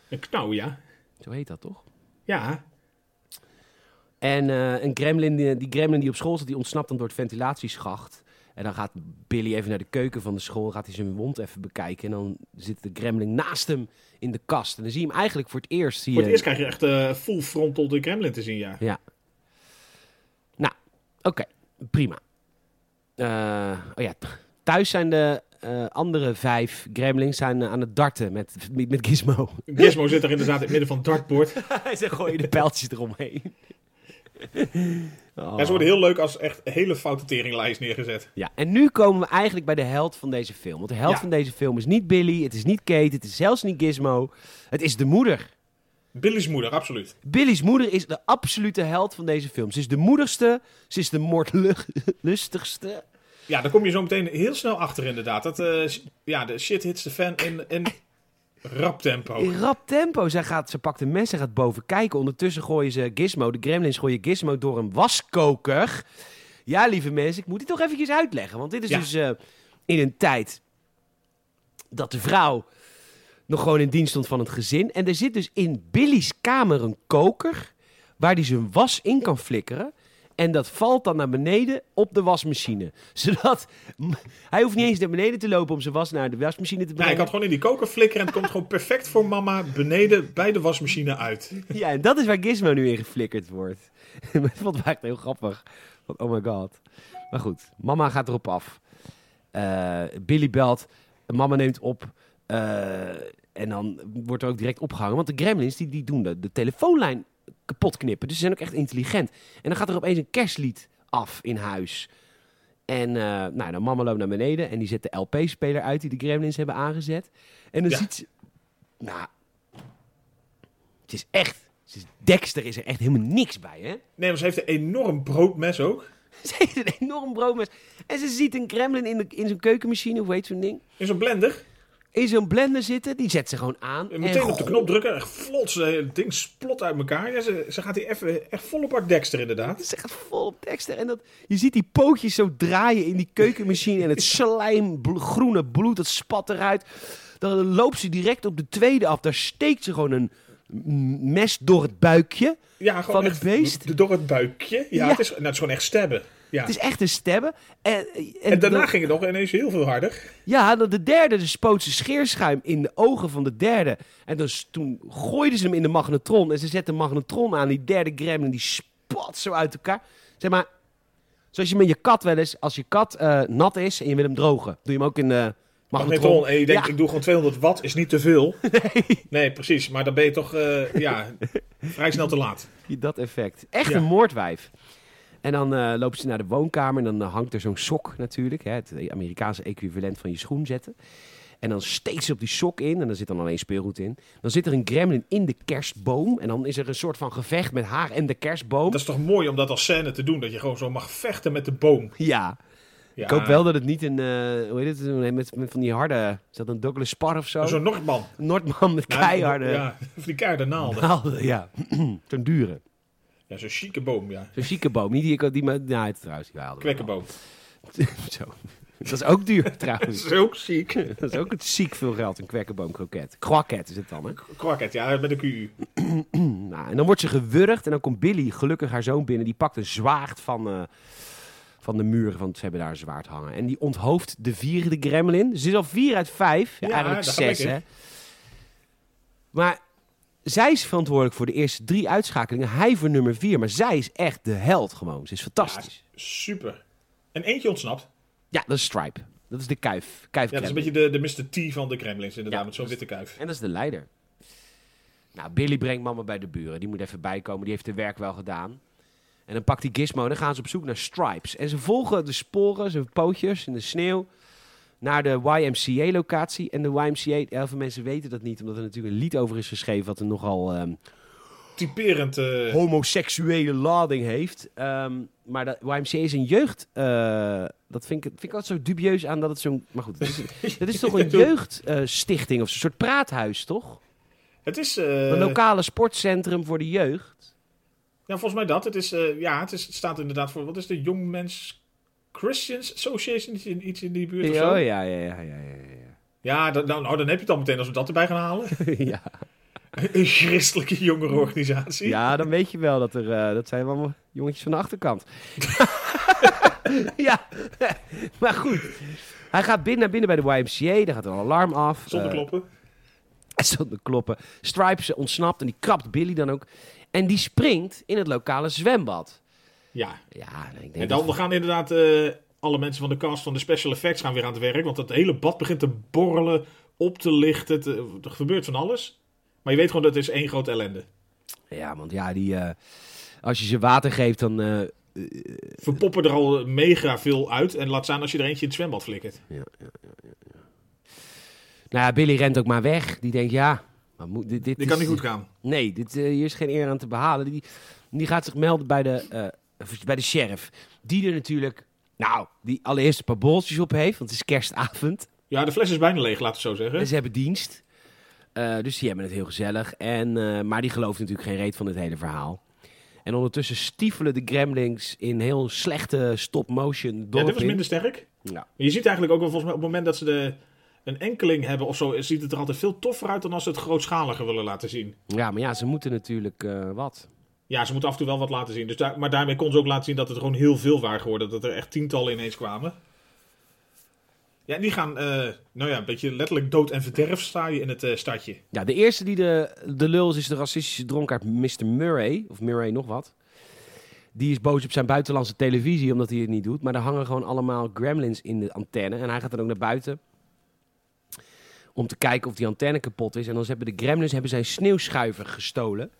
Speaker 3: Een knauw, Nou, ja.
Speaker 2: Zo heet dat toch?
Speaker 3: Ja,
Speaker 2: En eh, een gremlin, die, die gremlin die op school zit, die ontsnapt dan door het ventilatieschacht. En dan gaat Billy even naar de keuken van de school, gaat hij zijn wond even bekijken. En dan zit de gremlin naast hem in de kast. En dan zie je hem eigenlijk voor het eerst. Zie
Speaker 3: Voor
Speaker 2: je-
Speaker 3: het eerst krijg je echt eh, full frontal de Kremlin te zien, ja.
Speaker 2: Ja. Nou, oké, prima. Eh, oh ja, t- thuis zijn de eh, andere vijf gremlins zijn, eh, aan het darten met, met, met Gizmo.
Speaker 3: Gizmo zit er inderdaad in het midden van het dartboard.
Speaker 2: Ze gooien de pijltjes eromheen.
Speaker 3: Ja, ze worden heel leuk als echt hele foute teringlijst neergezet.
Speaker 2: Ja, en nu komen we eigenlijk bij de held van deze film. Want de held
Speaker 3: Ja.
Speaker 2: van deze film is niet Billy, het is niet Kate, het is zelfs niet Gizmo. Het is de moeder.
Speaker 3: Billy's moeder, absoluut.
Speaker 2: Billy's moeder is de absolute held van deze film. Ze is de moedigste, ze is de moordlustigste.
Speaker 3: Ja, daar kom je zo meteen heel snel achter inderdaad. Dat, eh, s- ja, de shit hits de fan in, in rap tempo.
Speaker 2: In rap tempo. Zij gaat, ze pakt een mes en gaat boven kijken. Ondertussen gooien ze Gizmo, de gremlins gooien Gizmo door een waskoker. Ja, lieve mensen, ik moet dit toch eventjes uitleggen. Want dit is
Speaker 3: Ja.
Speaker 2: dus eh, in een tijd dat de vrouw nog gewoon in dienst stond van het gezin. En er zit dus in Billy's kamer een koker waar hij zijn was in kan flikkeren. En dat valt dan naar beneden op de wasmachine. Zodat hij hoeft niet eens naar beneden te lopen om zijn was naar de wasmachine te
Speaker 3: Ja,
Speaker 2: brengen.
Speaker 3: ik had gewoon in die koker flikkeren en het komt gewoon perfect voor mama beneden bij de wasmachine uit.
Speaker 2: Ja, en dat is waar Gizmo nu in geflikkerd wordt. Maar dat vond ik echt heel grappig. Want, oh my god. Maar goed, mama gaat erop af. Eh, Billy belt, mama neemt op. eh, en dan wordt er ook direct opgehangen. Want de gremlins die, die doen de, de telefoonlijn kapot knippen. Dus ze zijn ook echt intelligent. En dan gaat er opeens een kerstlied af in huis. En eh, nou, dan mama loopt naar beneden en die zet de LP-speler uit die de gremlins hebben aangezet. En dan
Speaker 3: Ja.
Speaker 2: ziet ze... Nou, het is echt. Het is Dexter is er echt helemaal niks bij, hè?
Speaker 3: Nee, maar ze heeft een enorm broodmes ook.
Speaker 2: Ze heeft een enorm broodmes. En ze ziet een gremlin in, de, in zo'n keukenmachine, hoe heet zo'n ding?
Speaker 3: In zo'n blender.
Speaker 2: In zo'n blender zitten, die zet ze gewoon aan.
Speaker 3: En
Speaker 2: En
Speaker 3: Meteen op de
Speaker 2: goh,
Speaker 3: knop drukken. Echt vlot. ze- Het ding splot uit elkaar. Ja, ze, ze gaat hier even echt vol op haar dekster inderdaad.
Speaker 2: Ze gaat vol op Dexter. En dat, je ziet die pootjes zo draaien in die keukenmachine. En het slijm, bl- groene bloed, dat spat eruit. Dan loopt ze direct op de tweede af. Daar steekt ze gewoon een m- mes door het buikje.
Speaker 3: Ja, gewoon
Speaker 2: Van het
Speaker 3: echt
Speaker 2: beest?
Speaker 3: d- Door het buikje. Ja,
Speaker 2: Ja.
Speaker 3: Het, is, nou, het is gewoon echt stabben. Ja.
Speaker 2: Het is echt een stabben. En, en,
Speaker 3: en daarna
Speaker 2: dan-
Speaker 3: ging het nog ineens heel veel harder.
Speaker 2: Ja, dat de derde, de spoot ze scheerschuim in de ogen van de derde. En dus toen gooiden ze hem in de magnetron. En ze zetten de magnetron aan. Die derde gremlin, die spat zo uit elkaar. Zeg maar, zoals je met je kat wel eens... Als je kat eh, nat is en je wil hem drogen... Doe je hem ook in de
Speaker 3: Magnetron. En je denkt, ik doe gewoon 200 watt, is niet te veel. Nee, precies. Maar dan ben je toch eh, ja, vrij snel te laat.
Speaker 2: Dat effect. Echt
Speaker 3: Ja.
Speaker 2: een moordwijf. En dan eh lopen ze naar de woonkamer en dan eh, hangt er zo'n sok natuurlijk. Hè, het Amerikaanse equivalent van je schoen zetten. En dan steekt ze op die sok in en daar zit dan alleen speelgoed in. Dan zit er een gremlin in de kerstboom. En dan is er een soort van gevecht met haar en de kerstboom.
Speaker 3: Dat is toch mooi om dat als scène te doen. Dat je gewoon zo mag vechten met de boom.
Speaker 2: Ja.
Speaker 3: Ja,
Speaker 2: Ik hoop wel dat het niet een, eh, hoe heet het, met, met van die harde, is dat een Douglas Spar of zo?
Speaker 3: Zo'n Nordman.
Speaker 2: Noordman met
Speaker 3: Ja,
Speaker 2: keiharde
Speaker 3: Ja, of die keiharde naalden.
Speaker 2: naalden, ja. Zo'n dure.
Speaker 3: Ja, zo'n chique boom, ja.
Speaker 2: Zo'n chique boom. Niet die ik had, die maar, nou, het, trouwens, die haalden we wel.
Speaker 3: Kwekkenboom.
Speaker 2: Zo. Dat is ook duur trouwens.
Speaker 3: is ook ziek.
Speaker 2: Dat is ook het ziek veel geld, een kwekkenboomkroket. Kwakket is het dan, hè?
Speaker 3: Kwakket, ja, met een QU.
Speaker 2: Nou, en dan wordt ze gewurgd en dan komt Billy, gelukkig haar zoon, binnen. Die pakt een zwaard van, eh, van de muur, want ze hebben daar een zwaard hangen. En die onthoofdt de vierde gremlin. Ze is al vier uit vijf, ja,
Speaker 3: Ja,
Speaker 2: eigenlijk
Speaker 3: daar
Speaker 2: zes,
Speaker 3: ga ik in.
Speaker 2: hè? Maar zij is verantwoordelijk voor de eerste drie uitschakelingen. Hij voor nummer vier, maar zij is echt de held gewoon. Ze is fantastisch.
Speaker 3: Super. En eentje ontsnapt.
Speaker 2: Ja, dat is Stripe. Dat is de kuif. kuif
Speaker 3: Ja, dat is een beetje de, de Mr. T van de Kremlins, inderdaad,
Speaker 2: Ja, dus-
Speaker 3: met zo'n witte kuif.
Speaker 2: En dat is de leider. Nou, Billy brengt mama bij de buren. Die moet even bijkomen. Die heeft haar werk wel gedaan. En dan pakt hij Gizmo en dan gaan ze op zoek naar Stripes. En ze volgen de sporen, zijn pootjes in de sneeuw, naar de YMCA-locatie. En de YMCA, heel veel mensen weten dat niet, omdat er natuurlijk een lied over is geschreven wat een nogal ehm,
Speaker 3: Typerend. eh,
Speaker 2: homoseksuele lading heeft. Ehm, maar de YMCA is een jeugd... eh, dat vind ik, vind ik altijd zo dubieus aan dat het zo'n... Maar goed, dat is, dat is toch een jeugdstichting of zo'n soort praathuis, toch?
Speaker 3: het is. eh,
Speaker 2: Een lokale sportcentrum voor de jeugd.
Speaker 3: Ja, volgens mij dat. Het, is, eh, ja, het, is, het staat inderdaad voor. Wat is de Young Men's Christians Association? Iets in, iets in die buurt of
Speaker 2: ja,
Speaker 3: zo?
Speaker 2: ja, ja, ja, ja.
Speaker 3: Ja, dan, nou, nou, dan heb je het al meteen als we dat erbij gaan halen.
Speaker 2: ja.
Speaker 3: Een christelijke jongerenorganisatie.
Speaker 2: ja, dan weet je wel dat er. eh, dat zijn allemaal jongetjes van de achterkant. ja, maar goed. Hij gaat binnen naar binnen bij de YMCA. Daar gaat een alarm af.
Speaker 3: Zonder
Speaker 2: Eh,
Speaker 3: kloppen.
Speaker 2: Zonder kloppen. Stripes ontsnapt en die krapt Billy dan ook. En die springt in het lokale zwembad.
Speaker 3: Ja.
Speaker 2: Ja, ik denk
Speaker 3: En
Speaker 2: dat-
Speaker 3: dan gaan inderdaad eh, alle mensen van de cast van de special effects gaan weer aan het werk. Want dat hele bad begint te borrelen, op te lichten. te- er gebeurt van alles. Maar je weet gewoon dat het is één grote ellende.
Speaker 2: Ja, want ja, die. eh, als je ze water geeft, dan. eh,
Speaker 3: Verpoppen er al mega veel uit. En laat staan als je er eentje in het zwembad flikkert.
Speaker 2: Nou ja, Billy rent ook maar weg. Die denkt, ja, maar moet, dit, dit
Speaker 3: Dit kan
Speaker 2: is-
Speaker 3: niet goed gaan.
Speaker 2: Nee, dit, eh, hier is geen eer aan te behalen. Die, die gaat zich melden bij de, eh, bij de sheriff. Die er natuurlijk, nou, die allereerst een paar bolletjes op heeft. Want het is kerstavond.
Speaker 3: Ja, de fles is bijna leeg, laten we het zo
Speaker 2: En
Speaker 3: zeggen.
Speaker 2: ze hebben dienst. Eh, dus die hebben het heel gezellig. En, eh, maar die gelooft natuurlijk geen reet van het hele verhaal. En ondertussen stiefelen de gremlings in heel slechte stop-motion
Speaker 3: Ja,
Speaker 2: dorp
Speaker 3: dit was
Speaker 2: in.
Speaker 3: minder sterk.
Speaker 2: Ja.
Speaker 3: Maar je ziet eigenlijk ook wel volgens mij op het moment dat ze de, een enkeling hebben of zo, ziet het er altijd veel toffer uit dan als ze het grootschaliger willen laten zien.
Speaker 2: ja, maar ja, ze moeten natuurlijk eh, wat.
Speaker 3: Ja, ze moeten af en toe wel wat laten zien. Dus daar, maar daarmee kon ze ook laten zien dat het gewoon heel veel waren geworden. Dat er echt tientallen ineens kwamen. Ja, en die gaan, eh, nou ja, een beetje letterlijk dood en verderf sta je in het eh, stadje.
Speaker 2: Ja, de eerste die de, de lul is, is de racistische dronkaard Mr. Murray. Of Murray nog wat. Die is boos op zijn buitenlandse televisie omdat hij het niet doet. Maar er hangen gewoon allemaal gremlins in de antenne. En hij gaat dan ook naar buiten. Om te kijken of die antenne kapot is. En dan hebben de gremlins hebben zijn sneeuwschuiver gestolen.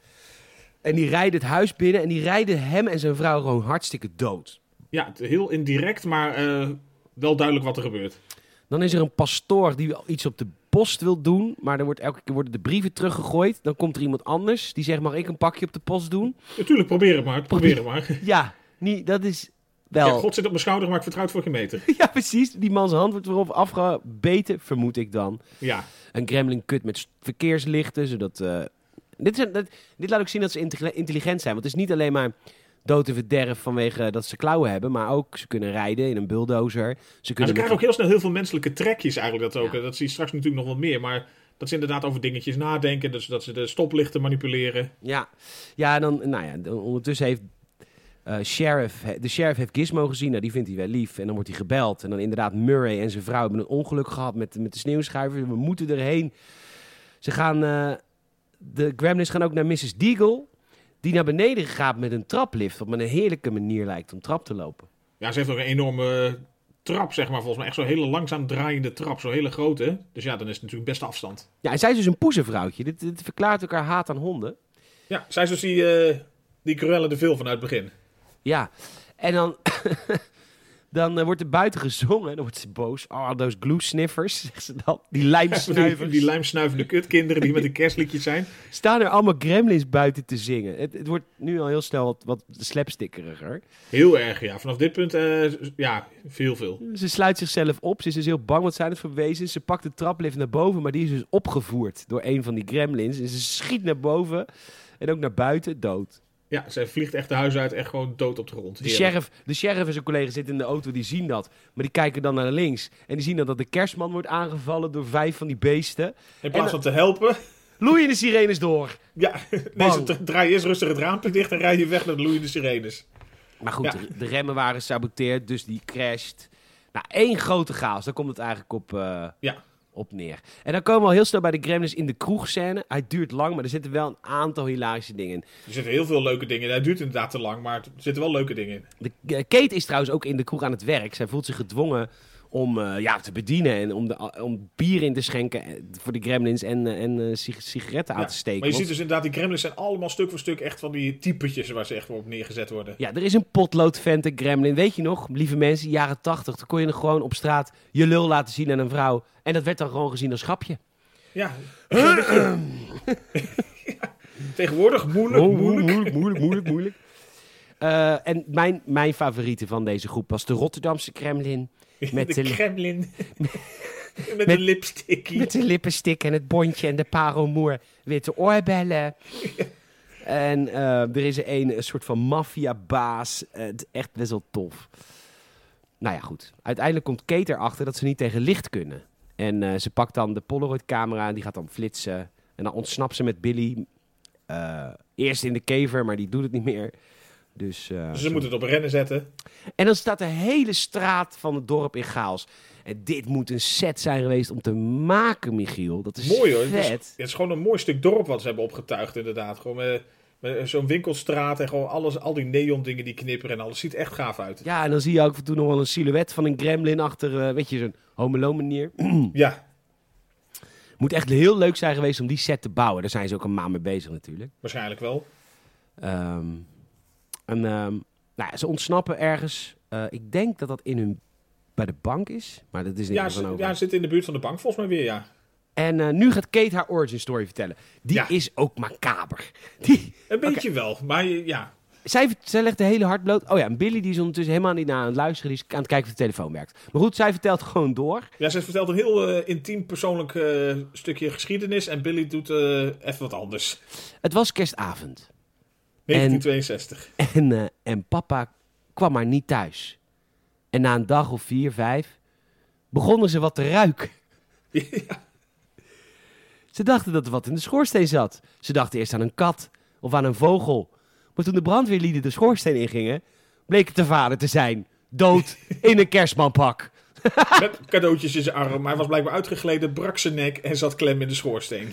Speaker 2: En die rijden het huis binnen. En die rijden hem en zijn vrouw gewoon hartstikke dood.
Speaker 3: Ja, het- heel indirect, maar eh, wel duidelijk wat er gebeurt.
Speaker 2: Dan is er een pastoor die iets op de post wil doen, maar er wordt elke keer worden de brieven teruggegooid. Dan komt er iemand anders die zegt: Mag ik een pakje op de post doen?
Speaker 3: Natuurlijk, probeer het maar. Probeer het maar.
Speaker 2: Ja, niet, dat is wel.
Speaker 3: Ja,
Speaker 2: Ja,
Speaker 3: God zit op mijn schouder, maar ik vertrouw het voor geen meter.
Speaker 2: precies. Die man's hand wordt erop afgebeten, vermoed ik dan.
Speaker 3: Ja.
Speaker 2: Een gremlin kut met s- verkeerslichten, zodat. eh, dit, zijn, dat- dit laat ook zien dat ze intelli- intelligent zijn. Want het is niet alleen maar dood en verderf vanwege dat ze klauwen hebben, maar ook ze kunnen rijden in een bulldozer. Ze
Speaker 3: Maar
Speaker 2: kunnen
Speaker 3: ze
Speaker 2: met
Speaker 3: krijgen ook heel snel heel veel menselijke trekjes eigenlijk. Dat, ook.
Speaker 2: Ja.
Speaker 3: dat zie je straks natuurlijk nog wat meer. Maar dat ze inderdaad over dingetjes nadenken. Dus dat ze de stoplichten manipuleren.
Speaker 2: Ja, ja en dan, nou ja, dan ondertussen heeft eh, sheriff, he- de sheriff heeft Gizmo gezien. Nou, die vindt hij wel lief. En dan wordt hij gebeld. En dan inderdaad, Murray en zijn vrouw hebben een ongeluk gehad met, met de sneeuwschuiver. We moeten erheen. Ze gaan, eh, de gremlins gaan ook naar Mrs. Deagle. Die naar beneden gaat met een traplift. Wat me een heerlijke manier lijkt om trap te lopen.
Speaker 3: Ja, ze heeft ook een enorme trap, zeg maar, volgens mij. Echt zo'n hele langzaam draaiende trap, zo'n hele grote. Dus ja, dan is het natuurlijk best afstand.
Speaker 2: Ja, en zij is dus een poezenvrouwtje. Dit, dit verklaart elkaar haat aan honden.
Speaker 3: Ja, zij is dus die, eh die Cruella de Vil vanuit het begin.
Speaker 2: Ja, en dan, dan eh, wordt er buiten gezongen. Dan wordt ze boos. Ah, those glue sniffers, zegt ze dan. Die
Speaker 3: Die,
Speaker 2: lijmsnuivers.
Speaker 3: die lijmsnuivende kutkinderen die met de kerstliedjes zijn.
Speaker 2: Staan er allemaal gremlins buiten te zingen. Het, het wordt nu al heel snel wat, wat slapstickeriger.
Speaker 3: Heel erg, ja. Vanaf dit punt, eh, ja, veel, veel.
Speaker 2: Ze sluit zichzelf op. Ze is dus heel bang, wat zijn het voor wezens? Ze pakt de traplift naar boven, maar die is dus opgevoerd door een van die gremlins. En ze schiet naar boven en ook naar buiten, dood.
Speaker 3: Ja, zij vliegt echt de huis uit, echt gewoon dood op de grond.
Speaker 2: De
Speaker 3: Heerlijk.
Speaker 2: sheriff, de sheriff en zijn collega zitten in de auto, die zien dat. Maar die kijken dan naar links. En die zien dan dat de kerstman wordt aangevallen door vijf van die beesten.
Speaker 3: In plaats van te helpen,
Speaker 2: Loeien de sirenes door.
Speaker 3: ja, nee, ze dra- draaien eerst rustig het raampje dicht en rijden je weg naar de loeiende sirenes.
Speaker 2: Maar goed,
Speaker 3: Ja.
Speaker 2: de, de remmen waren gesaboteerd, dus die crasht. Nou, één grote chaos. Daar komt het eigenlijk op, eh,
Speaker 3: Ja.
Speaker 2: op neer. En dan komen we al heel snel bij de Gremlins in de kroegscène. Hij duurt lang, maar er zitten wel een aantal hilarische dingen in.
Speaker 3: Er zitten heel veel leuke dingen in. Het duurt inderdaad te lang, maar er zitten wel leuke dingen in.
Speaker 2: De, eh, Kate is trouwens ook in de kroeg aan het werk. Zij voelt zich gedwongen om eh, ja, te bedienen en om, de, eh, om bier in te schenken eh, voor de Gremlins en, eh, en eh, sig- sigaretten aan
Speaker 3: Ja.
Speaker 2: te steken.
Speaker 3: Maar je
Speaker 2: Want-
Speaker 3: ziet dus inderdaad, die gremlins zijn allemaal stuk voor stuk echt van die typetjes waar ze echt op neergezet worden.
Speaker 2: Ja, er is een potloodvent, een gremlin. Weet je nog, lieve mensen, jaren tachtig, toen kon je nog gewoon op straat je lul laten zien aan een vrouw. En dat werd dan gewoon gezien als grapje.
Speaker 3: Ja. Ja. Tegenwoordig moeilijk,
Speaker 2: Oh.
Speaker 3: moeilijk.
Speaker 2: moeilijk, moeilijk, moeilijk. moeilijk. Eh, en mijn, mijn favoriete van deze groep was de Rotterdamse gremlin. Met
Speaker 3: de
Speaker 2: de, li-
Speaker 3: gremlin. met,
Speaker 2: met-
Speaker 3: een lipstickie.
Speaker 2: met de lippenstick en het bondje en de parelmoer. Witte oorbellen. En eh, er is er een, een soort van maffiabaas. Eh, het is echt best wel tof. Nou ja, goed. Uiteindelijk komt Kate erachter dat ze niet tegen licht kunnen. En eh, ze pakt dan de Polaroid-camera en die gaat dan flitsen. En dan ontsnapt ze met Billy. eh, eerst in de kever, maar die doet het niet meer. Dus, eh,
Speaker 3: Dus
Speaker 2: zo-
Speaker 3: ze moeten het op rennen zetten.
Speaker 2: en dan staat de hele straat van het dorp in chaos. En dit moet een set zijn geweest om te maken, Michiel. Dat is
Speaker 3: Mooi hoor. Het is,
Speaker 2: vet.
Speaker 3: het is gewoon een mooi stuk dorp wat ze hebben opgetuigd inderdaad. Gewoon met, met zo'n winkelstraat en gewoon alles, al die neon dingen die knipperen en alles. Ziet echt gaaf uit.
Speaker 2: Ja, en dan zie je ook af en toe nog wel een silhouet van een gremlin achter, eh, weet je, zo'n homelo manier.
Speaker 3: Ja,
Speaker 2: Moet echt heel leuk zijn geweest om die set te bouwen. Daar zijn ze ook een maand mee bezig natuurlijk.
Speaker 3: waarschijnlijk wel.
Speaker 2: Ehm, en ehm, nou ja, ze ontsnappen ergens. Eh, ik denk dat dat in hun, bij de bank is, maar dat is niet
Speaker 3: Ja,
Speaker 2: van
Speaker 3: ze,
Speaker 2: over.
Speaker 3: ja, ze zitten in de buurt van de bank volgens mij weer, ja.
Speaker 2: En eh, nu gaat Kate haar origin story vertellen. Die
Speaker 3: Ja.
Speaker 2: is ook macaber. Die,
Speaker 3: Een beetje wel, maar je- ja.
Speaker 2: Zij, zij legt de hele hart bloot. Oh ja, en Billy die is ondertussen helemaal niet naar aan het luisteren. Die is aan het kijken of de telefoon werkt. Maar goed, zij vertelt gewoon door.
Speaker 3: Ja, ze vertelt een heel eh, intiem persoonlijk eh, stukje geschiedenis en Billy doet eh, even wat anders.
Speaker 2: Het was kerstavond.
Speaker 3: 1962.
Speaker 2: En, eh, en papa kwam maar niet thuis. En na een dag of vier, vijf, begonnen ze wat te ruiken.
Speaker 3: ja,
Speaker 2: Ze dachten dat er wat in de schoorsteen zat. Ze dachten eerst aan een kat of aan een vogel. Maar toen de brandweerlieden de schoorsteen ingingen, bleek het de vader te zijn. Dood in een kerstmanpak.
Speaker 3: met cadeautjes in zijn arm. Hij was blijkbaar uitgegleden, brak zijn nek en zat klem in de schoorsteen.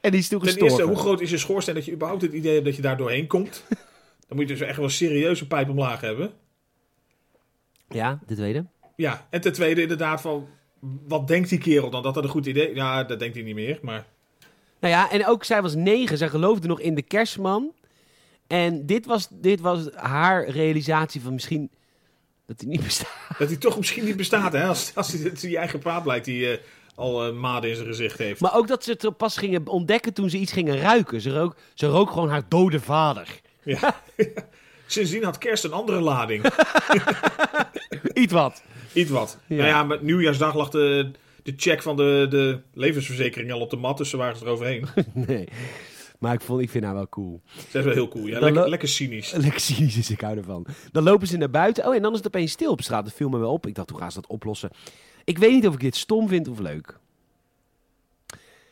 Speaker 2: En die is toen
Speaker 3: Ten
Speaker 2: gestorven.
Speaker 3: eerste, hoe groot is je schoorsteen dat je überhaupt het idee hebt dat je daar doorheen komt? Dan moet je dus echt wel een serieuze pijp omlaag hebben.
Speaker 2: Ja, de tweede.
Speaker 3: Ja, en ten tweede inderdaad van, wat denkt die kerel dan? Dat dat een goed idee... Ja, dat denkt hij niet meer, maar...
Speaker 2: Nou ja, en ook zij was negen. Zij geloofde nog in de kerstman. En dit was, dit was haar realisatie van misschien dat hij niet bestaat.
Speaker 3: Dat hij toch misschien niet bestaat, hè? Als, als hij die eigen praat blijkt die eh, al eh, maden in zijn gezicht heeft.
Speaker 2: Maar ook dat ze het pas gingen ontdekken toen ze iets gingen ruiken. Ze rook, ze rook gewoon haar dode vader.
Speaker 3: Ja. Sindsdien had kerst een andere lading.
Speaker 2: Iets wat.
Speaker 3: Iets wat.
Speaker 2: Ja.
Speaker 3: Nou ja, met nieuwjaarsdag lag de, de check van de, de levensverzekering al op de mat. Dus ze waren ze eroverheen.
Speaker 2: Nee. Maar ik, vond, ik vind haar wel cool.
Speaker 3: Dat is wel heel cool. Ja,
Speaker 2: Dan
Speaker 3: lekker,
Speaker 2: lo-
Speaker 3: lekker cynisch.
Speaker 2: Lekker cynisch is, ik hou ervan. Dan lopen ze naar buiten. Oh, en dan is het opeens stil op straat. Dat viel me wel op. Ik dacht, hoe gaan ze dat oplossen? Ik weet niet of ik dit stom vind of leuk.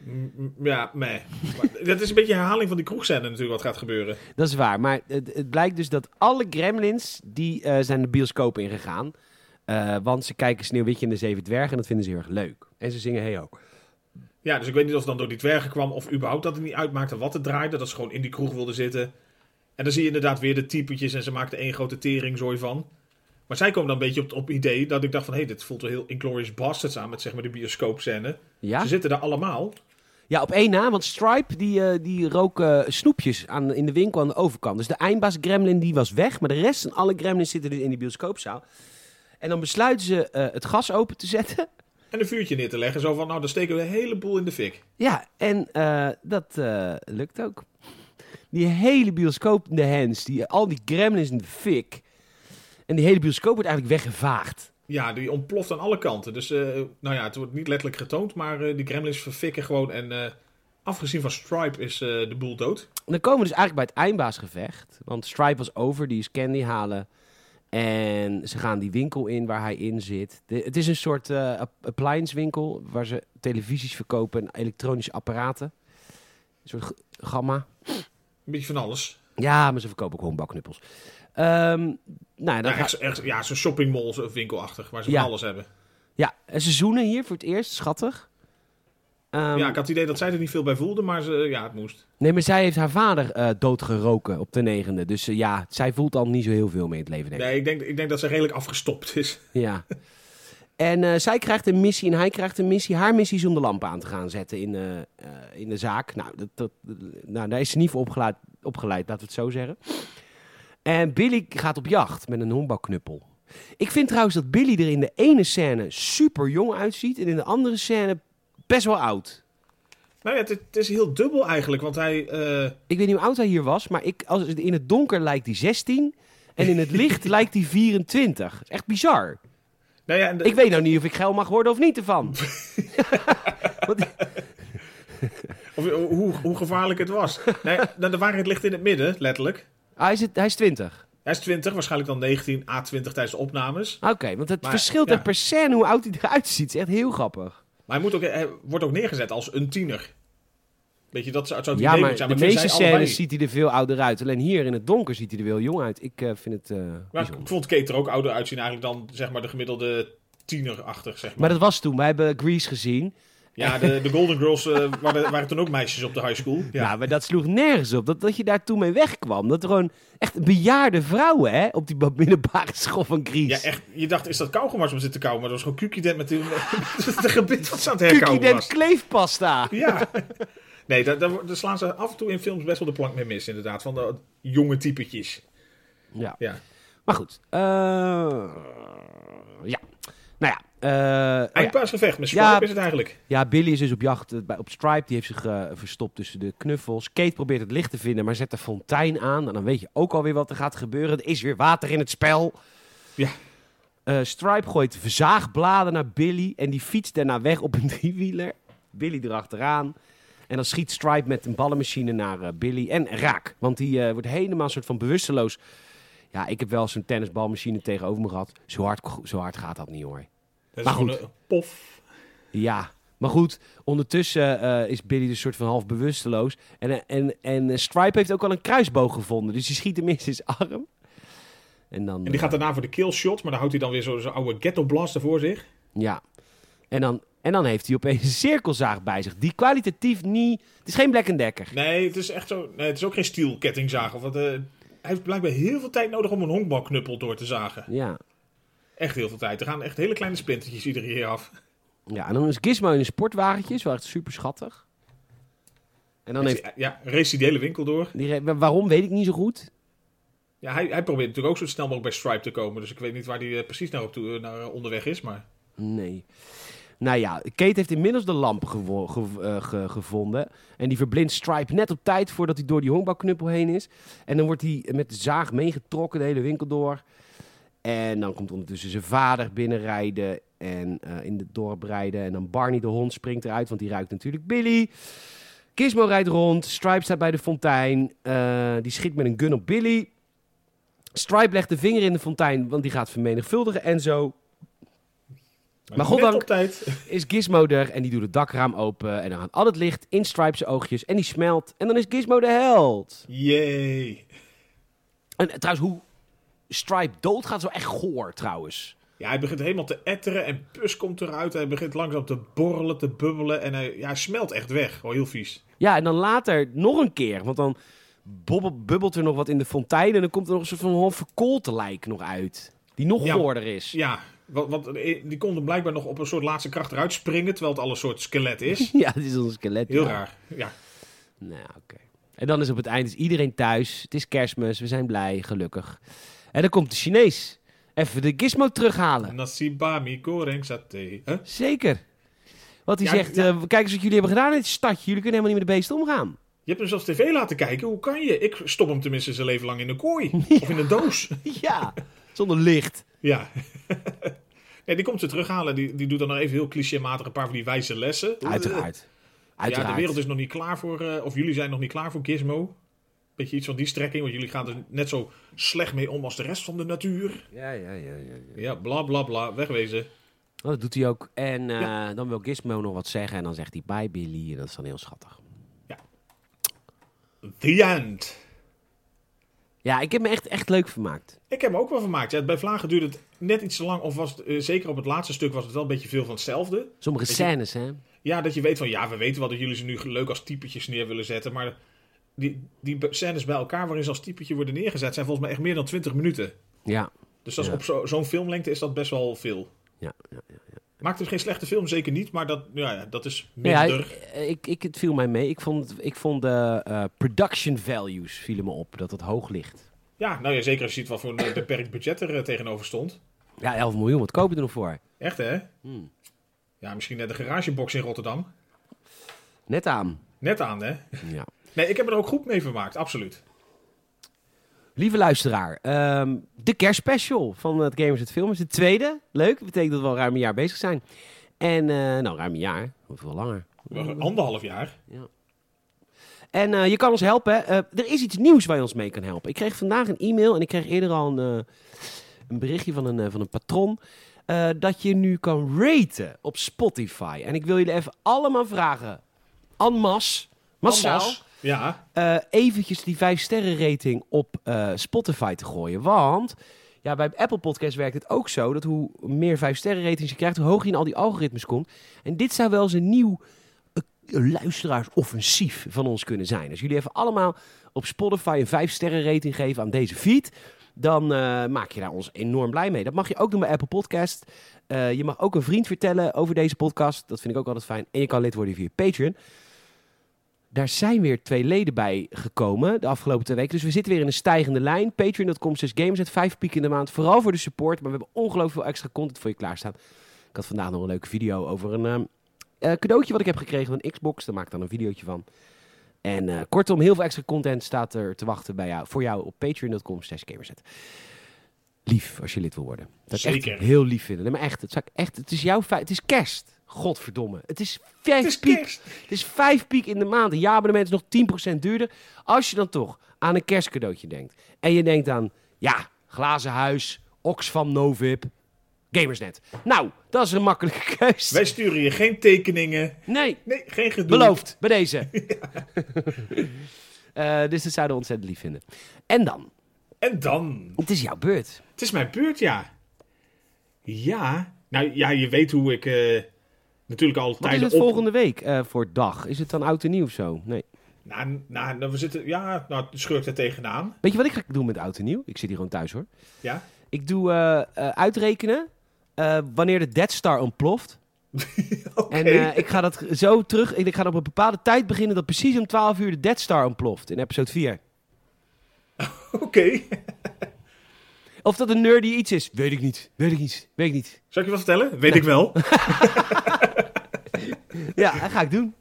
Speaker 3: M- m- Ja, meh. Maar dat is een beetje een herhaling van die kroegzender natuurlijk wat gaat gebeuren.
Speaker 2: Dat is waar, maar het, het blijkt dus dat alle gremlins die eh, zijn de bioscoop ingegaan. Eh, want ze kijken Sneeuwwitje en de Zeven Dwergen en dat vinden ze heel erg leuk. En ze zingen hey ho.
Speaker 3: Ja, dus ik weet niet of het dan door die dwergen kwam of überhaupt dat het niet uitmaakte wat het draaide. Dat ze gewoon in die kroeg wilden zitten. En dan zie je inderdaad weer de typetjes en ze maakten één grote teringzooi van. Maar zij komen dan een beetje op het idee dat ik dacht van... hé, hey, dit voelt wel heel Inglourious Basterds aan met zeg maar de bioscoopscène.
Speaker 2: Ja?
Speaker 3: Ze zitten daar allemaal.
Speaker 2: ja, op één na, want Stripe die, eh, die rook eh, snoepjes aan, in de winkel aan de overkant. Dus de eindbaas Gremlin die was weg, maar de rest van alle Gremlins zitten dus in die bioscoopzaal. En dan besluiten ze eh, het gas open te zetten.
Speaker 3: En een vuurtje neer te leggen. Zo van, nou, dan steken we een heleboel in de fik.
Speaker 2: Ja, en eh, dat eh, lukt ook. Die hele bioscoop in de hands, die, al die gremlins in de fik. En die hele bioscoop wordt eigenlijk weggevaagd.
Speaker 3: Ja, die ontploft aan alle kanten. Dus, eh, nou ja, het wordt niet letterlijk getoond, maar eh, die gremlins verfikken gewoon. En eh, afgezien van Stripe is eh, de boel dood.
Speaker 2: En dan komen we dus eigenlijk bij het eindbaasgevecht. Want Stripe was over, die is Candy halen. En ze gaan die winkel in waar hij in zit. De- het is een soort eh, app- appliance winkel waar ze televisies verkopen en elektronische apparaten. Een soort g- gamma.
Speaker 3: Een beetje van alles.
Speaker 2: Ja, maar ze verkopen ook gewoon bakknuppels. Ehm, nou, ja, dan
Speaker 3: Ja,
Speaker 2: ga-
Speaker 3: echt, echt, ja zo'n shoppingmall zo- winkelachtig, waar ze
Speaker 2: Ja.
Speaker 3: van alles hebben.
Speaker 2: Ja, en ze zoenen hier voor het eerst, schattig. Ehm,
Speaker 3: ja, ik had het idee dat zij er niet veel bij voelde, maar ze, ja, het moest.
Speaker 2: Nee, maar zij heeft haar vader eh, doodgeroken op de negende. Dus eh, ja, zij voelt al niet zo heel veel mee in het leven.
Speaker 3: Nee,
Speaker 2: Denk ik.
Speaker 3: ik, denk, ik denk dat ze redelijk afgestopt is.
Speaker 2: Ja. En eh, zij krijgt een missie en hij krijgt een missie. Haar missie is om de lamp aan te gaan zetten in, eh, eh, in de zaak. Nou, dat, dat, nou, daar is ze niet voor opgeleid, opgeleid, laten we het zo zeggen. En Billy gaat op jacht met een honkbalknuppel. Ik vind trouwens dat Billy er in de ene scène super jong uitziet en in de andere scène best wel oud.
Speaker 3: Nou ja, het, het is heel dubbel eigenlijk, want hij... eh,
Speaker 2: Ik weet niet hoe oud hij hier was, maar ik, als, in het donker lijkt hij 16 en in het licht lijkt hij 24. Dat is echt bizar.
Speaker 3: nou ja, en de-
Speaker 2: Ik weet nou niet of ik geil mag worden of niet ervan. Want-
Speaker 3: of, hoe, hoe gevaarlijk het was. nee, nou, de waarheid ligt in het midden, letterlijk.
Speaker 2: hij, is het, hij is 20.
Speaker 3: Hij is 20, waarschijnlijk dan 19, A20 tijdens de opnames.
Speaker 2: Oké, want het
Speaker 3: Maar,
Speaker 2: verschilt
Speaker 3: ja.
Speaker 2: echt per scène hoe oud hij eruit ziet. Het is echt heel grappig.
Speaker 3: Maar hij, moet ook, hij wordt ook neergezet als een tiener. Weet je, dat zou zou het
Speaker 2: Ja,
Speaker 3: idee
Speaker 2: maar
Speaker 3: moeten zijn.
Speaker 2: de
Speaker 3: ik vind
Speaker 2: meeste
Speaker 3: zij allebei-
Speaker 2: scènes ziet hij er veel ouder uit. Alleen hier in het donker ziet hij er wel jong uit. Ik eh, vind het eh,
Speaker 3: Maar
Speaker 2: bijzonder.
Speaker 3: ik vond Kate er ook ouder uitzien eigenlijk dan zeg maar, de gemiddelde tienerachtig, zeg maar.
Speaker 2: Maar dat was toen. Wij hebben Grease gezien.
Speaker 3: Ja, de, de Golden Girls eh, waren, waren toen ook meisjes op de high school. Ja.
Speaker 2: Ja. maar dat sloeg nergens op. Dat, dat je daar toen mee wegkwam. Dat er gewoon echt bejaarde vrouwen hè, op die ba- middelbare school van Grease.
Speaker 3: Ja, echt. Je dacht, is dat kauwgom waar ze zitten kauwen? Maar dat was gewoon Kukident met de, met de gebit wat ze aan het
Speaker 2: Cookie
Speaker 3: herkauwen
Speaker 2: Dent
Speaker 3: was.
Speaker 2: kleefpasta.
Speaker 3: Ja. Nee, daar, daar, wo- daar slaan ze af en toe in films best wel de plank mee mis, inderdaad. Van de jonge typetjes.
Speaker 2: Ja.
Speaker 3: Ja.
Speaker 2: Maar goed. eh, ja. Nou ja. eh, oh ja.
Speaker 3: Eindpaasgevecht met Swipe
Speaker 2: Ja.
Speaker 3: is het eigenlijk.
Speaker 2: Ja, Billy is dus op jacht eh, bij- op Stripe. Die heeft zich eh, verstopt tussen de knuffels. Kate probeert het licht te vinden, maar zet de fontein aan. En dan weet je ook alweer wat er gaat gebeuren. Er is weer water in het spel.
Speaker 3: Ja.
Speaker 2: Eh, Stripe gooit verzaagbladen naar Billy. En die fietst daarna weg op een driewieler. Billy erachteraan. En dan schiet Stripe met een ballenmachine naar eh, Billy. En raak. Want die eh, wordt helemaal een soort van bewusteloos. Ja, ik heb wel zo'n tennisbalmachine tegenover me gehad. Zo hard, zo hard gaat dat niet hoor.
Speaker 3: Dat
Speaker 2: Maar
Speaker 3: is gewoon
Speaker 2: goed.
Speaker 3: een pof.
Speaker 2: Ja, maar goed, ondertussen eh, is Billy dus soort van half bewusteloos. En, eh, en, en eh, Stripe heeft ook al een kruisboog gevonden, dus die schiet hem in zijn arm. En dan...
Speaker 3: En die
Speaker 2: eh,
Speaker 3: gaat daarna voor de kill shot, maar dan houdt hij dan weer zo- zo'n oude ghetto blaster voor zich.
Speaker 2: Ja. En dan, en dan heeft hij opeens een cirkelzaag bij zich, die kwalitatief niet... Het is geen Black Decker.
Speaker 3: Nee, het is echt zo. Nee, het is ook geen stielkettingzaag. Of wat, eh, hij heeft blijkbaar heel veel tijd nodig om een honkbalknuppel door te zagen.
Speaker 2: Ja.
Speaker 3: Echt heel veel tijd. Er gaan echt hele kleine splintertjes iedere keer af.
Speaker 2: ja, en dan is Gizmo in een sportwagentje, is wel echt super schattig. En dan heeft...
Speaker 3: Dus, Ja, race die de hele winkel door.
Speaker 2: Die, re- waarom, weet ik niet zo goed.
Speaker 3: Ja, hij, hij probeert natuurlijk ook zo snel mogelijk bij Stripe te komen. Dus ik weet niet waar hij eh, precies naar, op toe, naar eh, onderweg is. Maar
Speaker 2: Nee. Nou ja, Kate heeft inmiddels de lamp gewo- ge- eh, ge- gevonden. En die verblindt Stripe net op tijd voordat hij door die honkbalknuppel heen is. En dan wordt hij met de zaag meegetrokken de hele winkel door. En dan komt ondertussen zijn vader binnenrijden en eh, in het dorp rijden. En dan Barney de hond springt eruit, want die ruikt natuurlijk Billy. Gizmo rijdt rond, Stripe staat bij de fontein. eh, die schiet met een gun op Billy. Stripe legt de vinger in de fontein, want die gaat vermenigvuldigen en zo Maar
Speaker 3: net
Speaker 2: goddank-
Speaker 3: op tijd.
Speaker 2: is Gizmo er en die doet het dakraam open. En dan gaat al het licht in Stripes oogjes en die smelt. En dan is Gizmo de held.
Speaker 3: Yay.
Speaker 2: En eh, trouwens, hoe Stripe doodgaat is wel echt goor trouwens.
Speaker 3: Ja, hij begint helemaal te etteren en pus komt eruit. Hij begint langzaam te borrelen, te bubbelen. En hij, ja, hij smelt echt weg. Gewoon heel vies.
Speaker 2: Ja, en dan later nog een keer. Want dan bobbel- bubbelt er nog wat in de fontein. En dan komt er nog een soort van half verkoolte lijk nog uit. Die Die nog
Speaker 3: Ja.
Speaker 2: goorder is.
Speaker 3: Ja, want, want die konden blijkbaar nog op een soort laatste kracht eruit springen, terwijl het al een soort skelet is.
Speaker 2: Ja, dit is ons skelet.
Speaker 3: Heel
Speaker 2: ja.
Speaker 3: raar. Ja.
Speaker 2: Nou, oké. En dan is op het eind is iedereen thuis. Het is kerstmis. We zijn blij, gelukkig. En dan komt de Chinees. Even de gizmo terughalen.
Speaker 3: Nasibami goreng satay. Huh?
Speaker 2: Zeker. Want hij
Speaker 3: Ja,
Speaker 2: zegt,
Speaker 3: ja.
Speaker 2: eh, kijk eens wat jullie hebben gedaan in dit stadje. Jullie kunnen helemaal niet met de beesten omgaan.
Speaker 3: Je hebt hem zelfs tv laten kijken. Hoe kan je? Ik stop hem tenminste zijn leven lang in een kooi. Of in een doos.
Speaker 2: ja, zonder licht.
Speaker 3: Ja. Nee, die komt ze terughalen. Die, die doet dan nog even heel clichématig een paar van die wijze lessen.
Speaker 2: Uiteraard. Uiteraard.
Speaker 3: Ja, de wereld is nog niet klaar voor... eh, of jullie zijn nog niet klaar voor Gizmo. Beetje iets van die strekking. Want jullie gaan er net zo slecht mee om als de rest van de natuur.
Speaker 2: Ja, ja, ja, ja. ja.
Speaker 3: Ja, bla bla bla. Wegwezen.
Speaker 2: Oh, dat doet hij ook. En eh, dan wil Gizmo nog wat zeggen. En dan zegt hij, bye Billy. En dat is dan heel schattig.
Speaker 3: The end.
Speaker 2: Ja, ik heb me echt, echt leuk vermaakt.
Speaker 3: Ik heb me ook wel vermaakt. Ja, bij Vlagen duurde het net iets te lang. Of was het, eh, zeker op het laatste stuk was het wel een beetje veel van hetzelfde.
Speaker 2: Sommige scènes, hè.
Speaker 3: Ja, dat je weet van ja, we weten wel dat jullie ze nu leuk als typetjes neer willen zetten. Maar die, die be- scènes bij elkaar waarin ze als typetje worden neergezet zijn volgens mij echt meer dan 20 minuten.
Speaker 2: Ja.
Speaker 3: Dus dat is
Speaker 2: Ja.
Speaker 3: op zo- zo'n filmlengte is dat best wel veel.
Speaker 2: Ja, ja, ja.
Speaker 3: Maakt het geen slechte film, zeker niet. Maar dat, ja, ja, dat is
Speaker 2: Nee,
Speaker 3: minder.
Speaker 2: hij- eh, ik, ik, het viel mij mee. Ik vond, ik vond de eh, production values vielen me op, dat het hoog ligt.
Speaker 3: Ja, nou ja, zeker als je ziet wat voor een beperkt budget er eh, tegenover stond.
Speaker 2: Ja, 11 miljoen, wat kopen er nog voor?
Speaker 3: Echt hè? Ja, misschien net de garagebox in Rotterdam.
Speaker 2: Net aan.
Speaker 3: Net aan hè?
Speaker 2: Ja.
Speaker 3: Nee, ik heb er ook goed mee vermaakt, absoluut.
Speaker 2: Lieve luisteraar, ehm, de kerstspecial van het Gamers het Film is de tweede. Leuk, dat betekent dat we al ruim een jaar bezig zijn. En, eh, nou, ruim een jaar, of wel langer.
Speaker 3: Wel Anderhalf jaar.
Speaker 2: En eh, je kan ons helpen. hè. Eh, er is iets nieuws waar je ons mee kan helpen. Ik kreeg vandaag een e-mail en ik kreeg eerder al een, eh, een berichtje van een, eh, van een patron. eh, dat je nu kan raten op Spotify. En ik wil jullie even allemaal vragen. En masse, massaal,
Speaker 3: Anders. Ja.
Speaker 2: eh, eventjes die 5 sterren rating op eh, Spotify te gooien. Want ja, bij Apple Podcast werkt het ook zo dat hoe meer 5 sterren ratings je krijgt, hoe hoger je in al die algoritmes komt. En dit zou wel eens een nieuw eh, luisteraaarsoffensief van ons kunnen zijn. Als jullie even allemaal op Spotify een 5 sterren rating geven aan deze feed, dan eh, maak je daar ons enorm blij mee. Dat mag je ook doen bij Apple Podcast. Eh, je mag ook een vriend vertellen over deze podcast. Dat vind ik ook altijd fijn. En je kan lid worden via Patreon. Daar zijn weer twee leden bij gekomen de afgelopen twee weken. Dus we zitten weer in een stijgende lijn. Patreon.com slash games. Het vijf piek in de maand. Vooral voor de support. Maar we hebben ongelooflijk veel extra content voor je klaarstaan. Ik had vandaag nog een leuke video over een ehm, eh, cadeautje wat ik heb gekregen van Xbox. Daar maak ik dan een videootje van. En eh, kortom, heel veel extra content staat er te wachten bij jou, voor jou op patreon.com slash gamerset. Lief als je lid wil worden. Dat zou ik echt
Speaker 3: Zeker.
Speaker 2: heel lief vinden. Nee, maar echt, het, zou ik echt, het is jouw feit. Het is kerst. Godverdomme. Het is vijf
Speaker 3: Het is
Speaker 2: piek.
Speaker 3: kerst.
Speaker 2: Het is vijf piek in de maand. Een jaarabonnement is nog 10% duurder. Als je dan toch aan een kerstcadeautje denkt. En je denkt aan, ja, glazen huis, Oxfam, Novib, Gamersnet. Nou, dat is een makkelijke keus.
Speaker 3: Wij sturen je geen tekeningen.
Speaker 2: Nee,
Speaker 3: Nee, geen gedoe.
Speaker 2: beloofd, bij deze. Eh, dus dat zouden we ontzettend lief vinden. En dan,
Speaker 3: En dan?
Speaker 2: het is jouw beurt.
Speaker 3: Het is mijn beurt, ja. Ja. Nou ja, je weet hoe ik eh, natuurlijk al
Speaker 2: Wat is
Speaker 3: tijden
Speaker 2: het
Speaker 3: op...
Speaker 2: volgende week eh, voor dag? Is het dan oud en nieuw of zo? Nee.
Speaker 3: Nou, nou, nou, we zitten... Ja, nou, het schurkt er tegenaan.
Speaker 2: Weet je wat ik ga doen met oud en nieuw? Ik zit hier gewoon thuis hoor.
Speaker 3: Ja.
Speaker 2: Ik doe eh, eh, uitrekenen eh, wanneer de Death Star ontploft.
Speaker 3: Oké.
Speaker 2: En eh, ik ga dat zo terug. Ik, ik ga op een bepaalde tijd beginnen dat precies om 12 uur de Death Star ontploft in episode 4.
Speaker 3: Oké.
Speaker 2: Of dat een nerdy iets is, weet ik niet. Weet ik niet. Weet ik niet.
Speaker 3: Zal ik je wat vertellen? Weet ik wel.
Speaker 2: Ja, dat ga ik doen.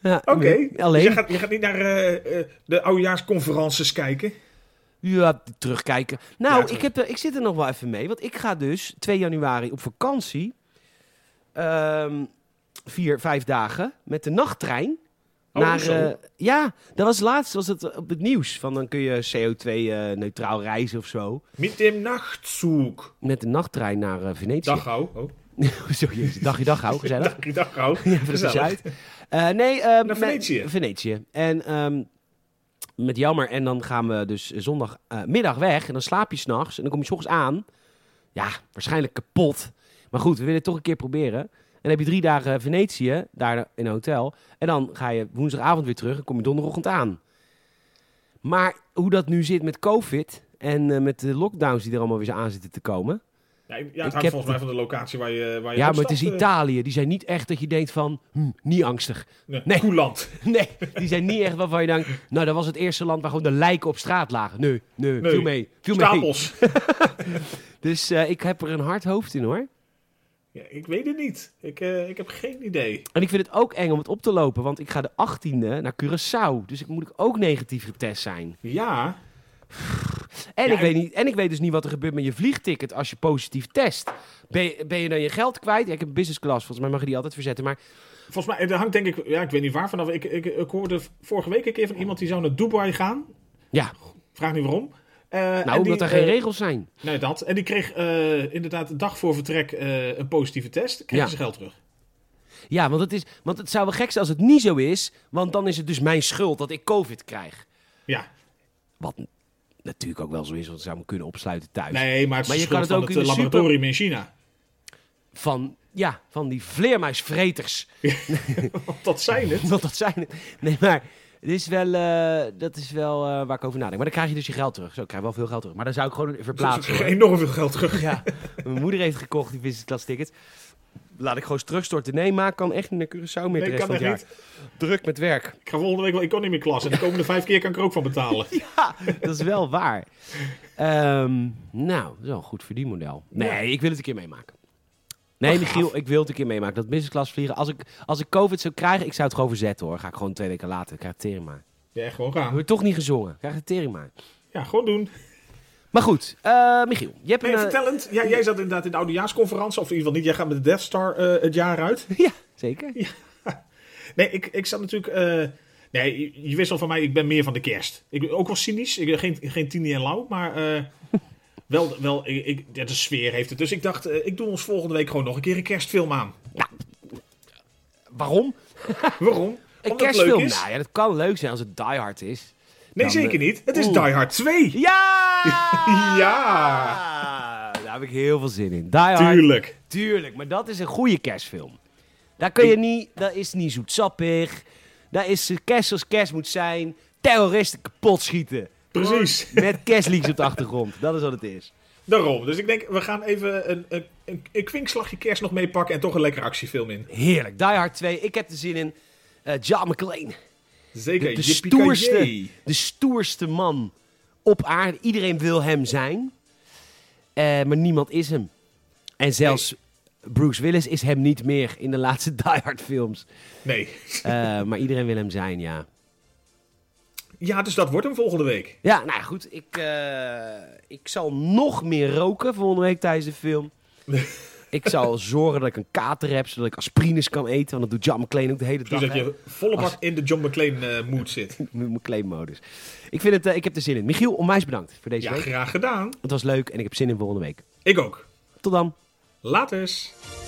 Speaker 2: Ja,
Speaker 3: Oké. Dus
Speaker 2: Alleen.
Speaker 3: je, gaat, je gaat niet naar eh, eh, de oudejaarsconferences kijken?
Speaker 2: Ja, terugkijken. Nou,
Speaker 3: Ja, terug.
Speaker 2: ik, heb er, ik zit er nog wel even mee. Want ik ga dus 2 januari op vakantie. Ehm, vier, vijf dagen. Met de nachttrein.
Speaker 3: Oh,
Speaker 2: naar,
Speaker 3: zo.
Speaker 2: eh, ja, dat was laatst was het op het nieuws. Van dan kun je CO2-neutraal eh, reizen of zo.
Speaker 3: Met dem nachtzoek.
Speaker 2: Met de nachttrein naar eh, Venetië.
Speaker 3: Dag, hou. Oh.
Speaker 2: Zo, jezus, dagje dag hou, gezellig.
Speaker 3: Dag, dag, hou.
Speaker 2: Ja, voor de Zuid. Eh, nee, ehm, met-
Speaker 3: Venetië.
Speaker 2: Venetië. En ehm, met jammer. En dan gaan we dus zondagmiddag weg. En dan slaap je s'nachts. En dan kom je 's ochtends aan. Ja, waarschijnlijk kapot. Maar goed, we willen het toch een keer proberen. En dan heb je drie dagen Venetië, daar in een hotel. En dan ga je woensdagavond weer terug en kom je donderochtend aan. Maar hoe dat nu zit met COVID En eh, met de lockdowns die er allemaal weer zo aan zitten te komen.
Speaker 3: Ja, ik- ja, het
Speaker 2: heb
Speaker 3: hangt volgens mij van de locatie waar je waar je
Speaker 2: Ja, maar het
Speaker 3: opstapt,
Speaker 2: is
Speaker 3: eh.
Speaker 2: Italië. Die zijn niet echt dat je denkt van, hm, niet angstig.
Speaker 3: Nee,
Speaker 2: Nee.
Speaker 3: Koeland.
Speaker 2: Nee, die zijn niet echt waarvan je denkt... Nou, dat was het eerste land waar gewoon de lijken op straat lagen. Nee, nee,
Speaker 3: Nee.
Speaker 2: viel mee. Viel mee.
Speaker 3: Stapels.
Speaker 2: Dus eh, ik heb er een hard hoofd in, hoor.
Speaker 3: Ja, ik weet het niet. Ik, eh, ik heb geen idee.
Speaker 2: En ik vind het ook eng om het op te lopen, want ik ga de 18e naar Curaçao. Dus ik moet ik ook negatief getest zijn.
Speaker 3: Ja,
Speaker 2: En,
Speaker 3: Ja,
Speaker 2: ik
Speaker 3: en-
Speaker 2: weet niet, en ik weet dus niet wat er gebeurt met je vliegticket als je positief test. Ben je, ben je dan je geld kwijt? Ja, ik heb business class, volgens mij mag je die altijd verzetten. Maar
Speaker 3: volgens mij, er hangt denk ik, ja, ik weet niet waar vanaf. Ik, ik, ik hoorde vorige week een keer van iemand die zou naar Dubai gaan.
Speaker 2: ja,
Speaker 3: Vraag niet waarom. Eh, en
Speaker 2: nou, omdat
Speaker 3: die,
Speaker 2: er geen
Speaker 3: eh,
Speaker 2: regels zijn.
Speaker 3: Nee, dat. En die kreeg eh, inderdaad de dag voor vertrek eh, een positieve test. Kreeg
Speaker 2: Ja.
Speaker 3: zijn geld terug.
Speaker 2: Ja, want het, is, want het zou wel gek zijn als het niet zo is, want dan is het dus mijn schuld dat ik COVID krijg.
Speaker 3: Ja.
Speaker 2: Wat n- natuurlijk ook wel zo is, want ze zou me kunnen opsluiten thuis.
Speaker 3: Nee, maar het is
Speaker 2: Maar
Speaker 3: de
Speaker 2: je
Speaker 3: schuld
Speaker 2: kan het
Speaker 3: van
Speaker 2: ook
Speaker 3: het
Speaker 2: in
Speaker 3: eh,
Speaker 2: de super-
Speaker 3: laboratorium in China.
Speaker 2: Van, ja, van die vleermuisvreters.
Speaker 3: Want dat zijn het.
Speaker 2: Want dat zijn het. Nee, maar het is wel, eh, dat is wel eh, waar ik over nadenk. Maar dan krijg je dus je geld terug. Zo, ik krijg wel veel geld terug. Maar dan zou ik gewoon verplaatsen. hoor.
Speaker 3: Enorm veel geld terug.
Speaker 2: Ja, mijn moeder heeft gekocht die business class tickets. Laat ik gewoon eens terugstorten. Nee, maar ik kan echt niet naar Curaçao meer
Speaker 3: Nee,
Speaker 2: de rest
Speaker 3: kan
Speaker 2: van het
Speaker 3: echt
Speaker 2: jaar. Druk met werk.
Speaker 3: Ik ga volgende week wel economy class. En de komende vijf keer kan ik er ook van betalen.
Speaker 2: Ja, dat is wel waar. Ehm, nou, dat is wel een goed verdienmodel. Nee, ik wil het een keer meemaken.
Speaker 3: Oh,
Speaker 2: Nee, Michiel, ik wil het een keer meemaken. Dat business class vliegen. Als ik, als ik COVID zou krijgen, ik zou het gewoon verzetten hoor. Ga ik gewoon twee weken later. Ik krijg het tering maar.
Speaker 3: Ja, gewoon gaan.
Speaker 2: Wordt toch niet gezongen. Ik krijg het tering maar.
Speaker 3: Ja, gewoon doen.
Speaker 2: Maar goed, eh, Michiel, je hebt
Speaker 3: Nee,
Speaker 2: een... eh,
Speaker 3: vertellend. Ja, jij zat inderdaad in de oudejaarsconferentie. Of in ieder geval niet. Jij gaat met de Death Star eh, het jaar uit.
Speaker 2: ja, zeker.
Speaker 3: Nee, ik, ik zat natuurlijk... eh, nee, je, je wist al van mij, ik ben meer van de kerst. Ik ben ook wel cynisch. Ik ben geen, geen tini en lauw, maar... eh, wel, wel ik, ik- ja, de sfeer heeft het. Dus ik dacht, eh, ik doe ons volgende week gewoon nog een keer een kerstfilm aan.
Speaker 2: Waarom?
Speaker 3: Waarom?
Speaker 2: Een
Speaker 3: Omdat het
Speaker 2: kerstfilm?
Speaker 3: leuk is?
Speaker 2: Nou ja, dat kan leuk zijn als het Die Hard is.
Speaker 3: nee,
Speaker 2: dan,
Speaker 3: zeker
Speaker 2: eh,
Speaker 3: niet. Het is
Speaker 2: oeh.
Speaker 3: Die Hard 2.
Speaker 2: Ja!
Speaker 3: Ja!
Speaker 2: Daar heb ik heel veel zin in. Die Hard, tuurlijk.
Speaker 3: Tuurlijk.
Speaker 2: Maar dat is een goede kerstfilm. Daar kun je niet... Dat is niet zoetsappig. Daar is eh, kerst zoals kerst moet zijn. Terroristen kapot schieten.
Speaker 3: Precies.
Speaker 2: Met kerstliedjes op de achtergrond. Dat is wat het is.
Speaker 3: Daarom. Dus ik denk, we gaan even een, een, een, een kwinkslagje kerst nog meepakken en toch een lekkere actiefilm in.
Speaker 2: Heerlijk. Die Hard 2. Ik heb er zin in. Eh John McClane.
Speaker 3: Zeker.
Speaker 2: De, de
Speaker 3: Yippie-ki-yay.
Speaker 2: stoerste, de stoerste man op aarde. Iedereen wil hem zijn, Eh, maar niemand is hem. En zelfs Bruce Willis is hem niet meer in de laatste Die Hard films.
Speaker 3: Nee.
Speaker 2: Eh, maar iedereen wil hem zijn, ja.
Speaker 3: Ja, dus dat wordt hem volgende week.
Speaker 2: Ja, nou ja, goed. Ik, eh, ik zal nog meer roken volgende week tijdens de film. ik zal zorgen dat ik een kater heb, zodat ik aspirines kan eten. Want dat doet John McClane ook de hele dag.
Speaker 3: Dus dat
Speaker 2: hè.
Speaker 3: je volle bak in de John McClane eh, mood zit.
Speaker 2: Met mijn claimmodus. Ik, vind het, eh, ik heb er zin in. Michiel, onwijs bedankt voor deze
Speaker 3: Ja,
Speaker 2: week.
Speaker 3: graag gedaan.
Speaker 2: Het was leuk en ik heb zin in volgende week.
Speaker 3: Ik ook.
Speaker 2: Tot dan.
Speaker 3: Laters.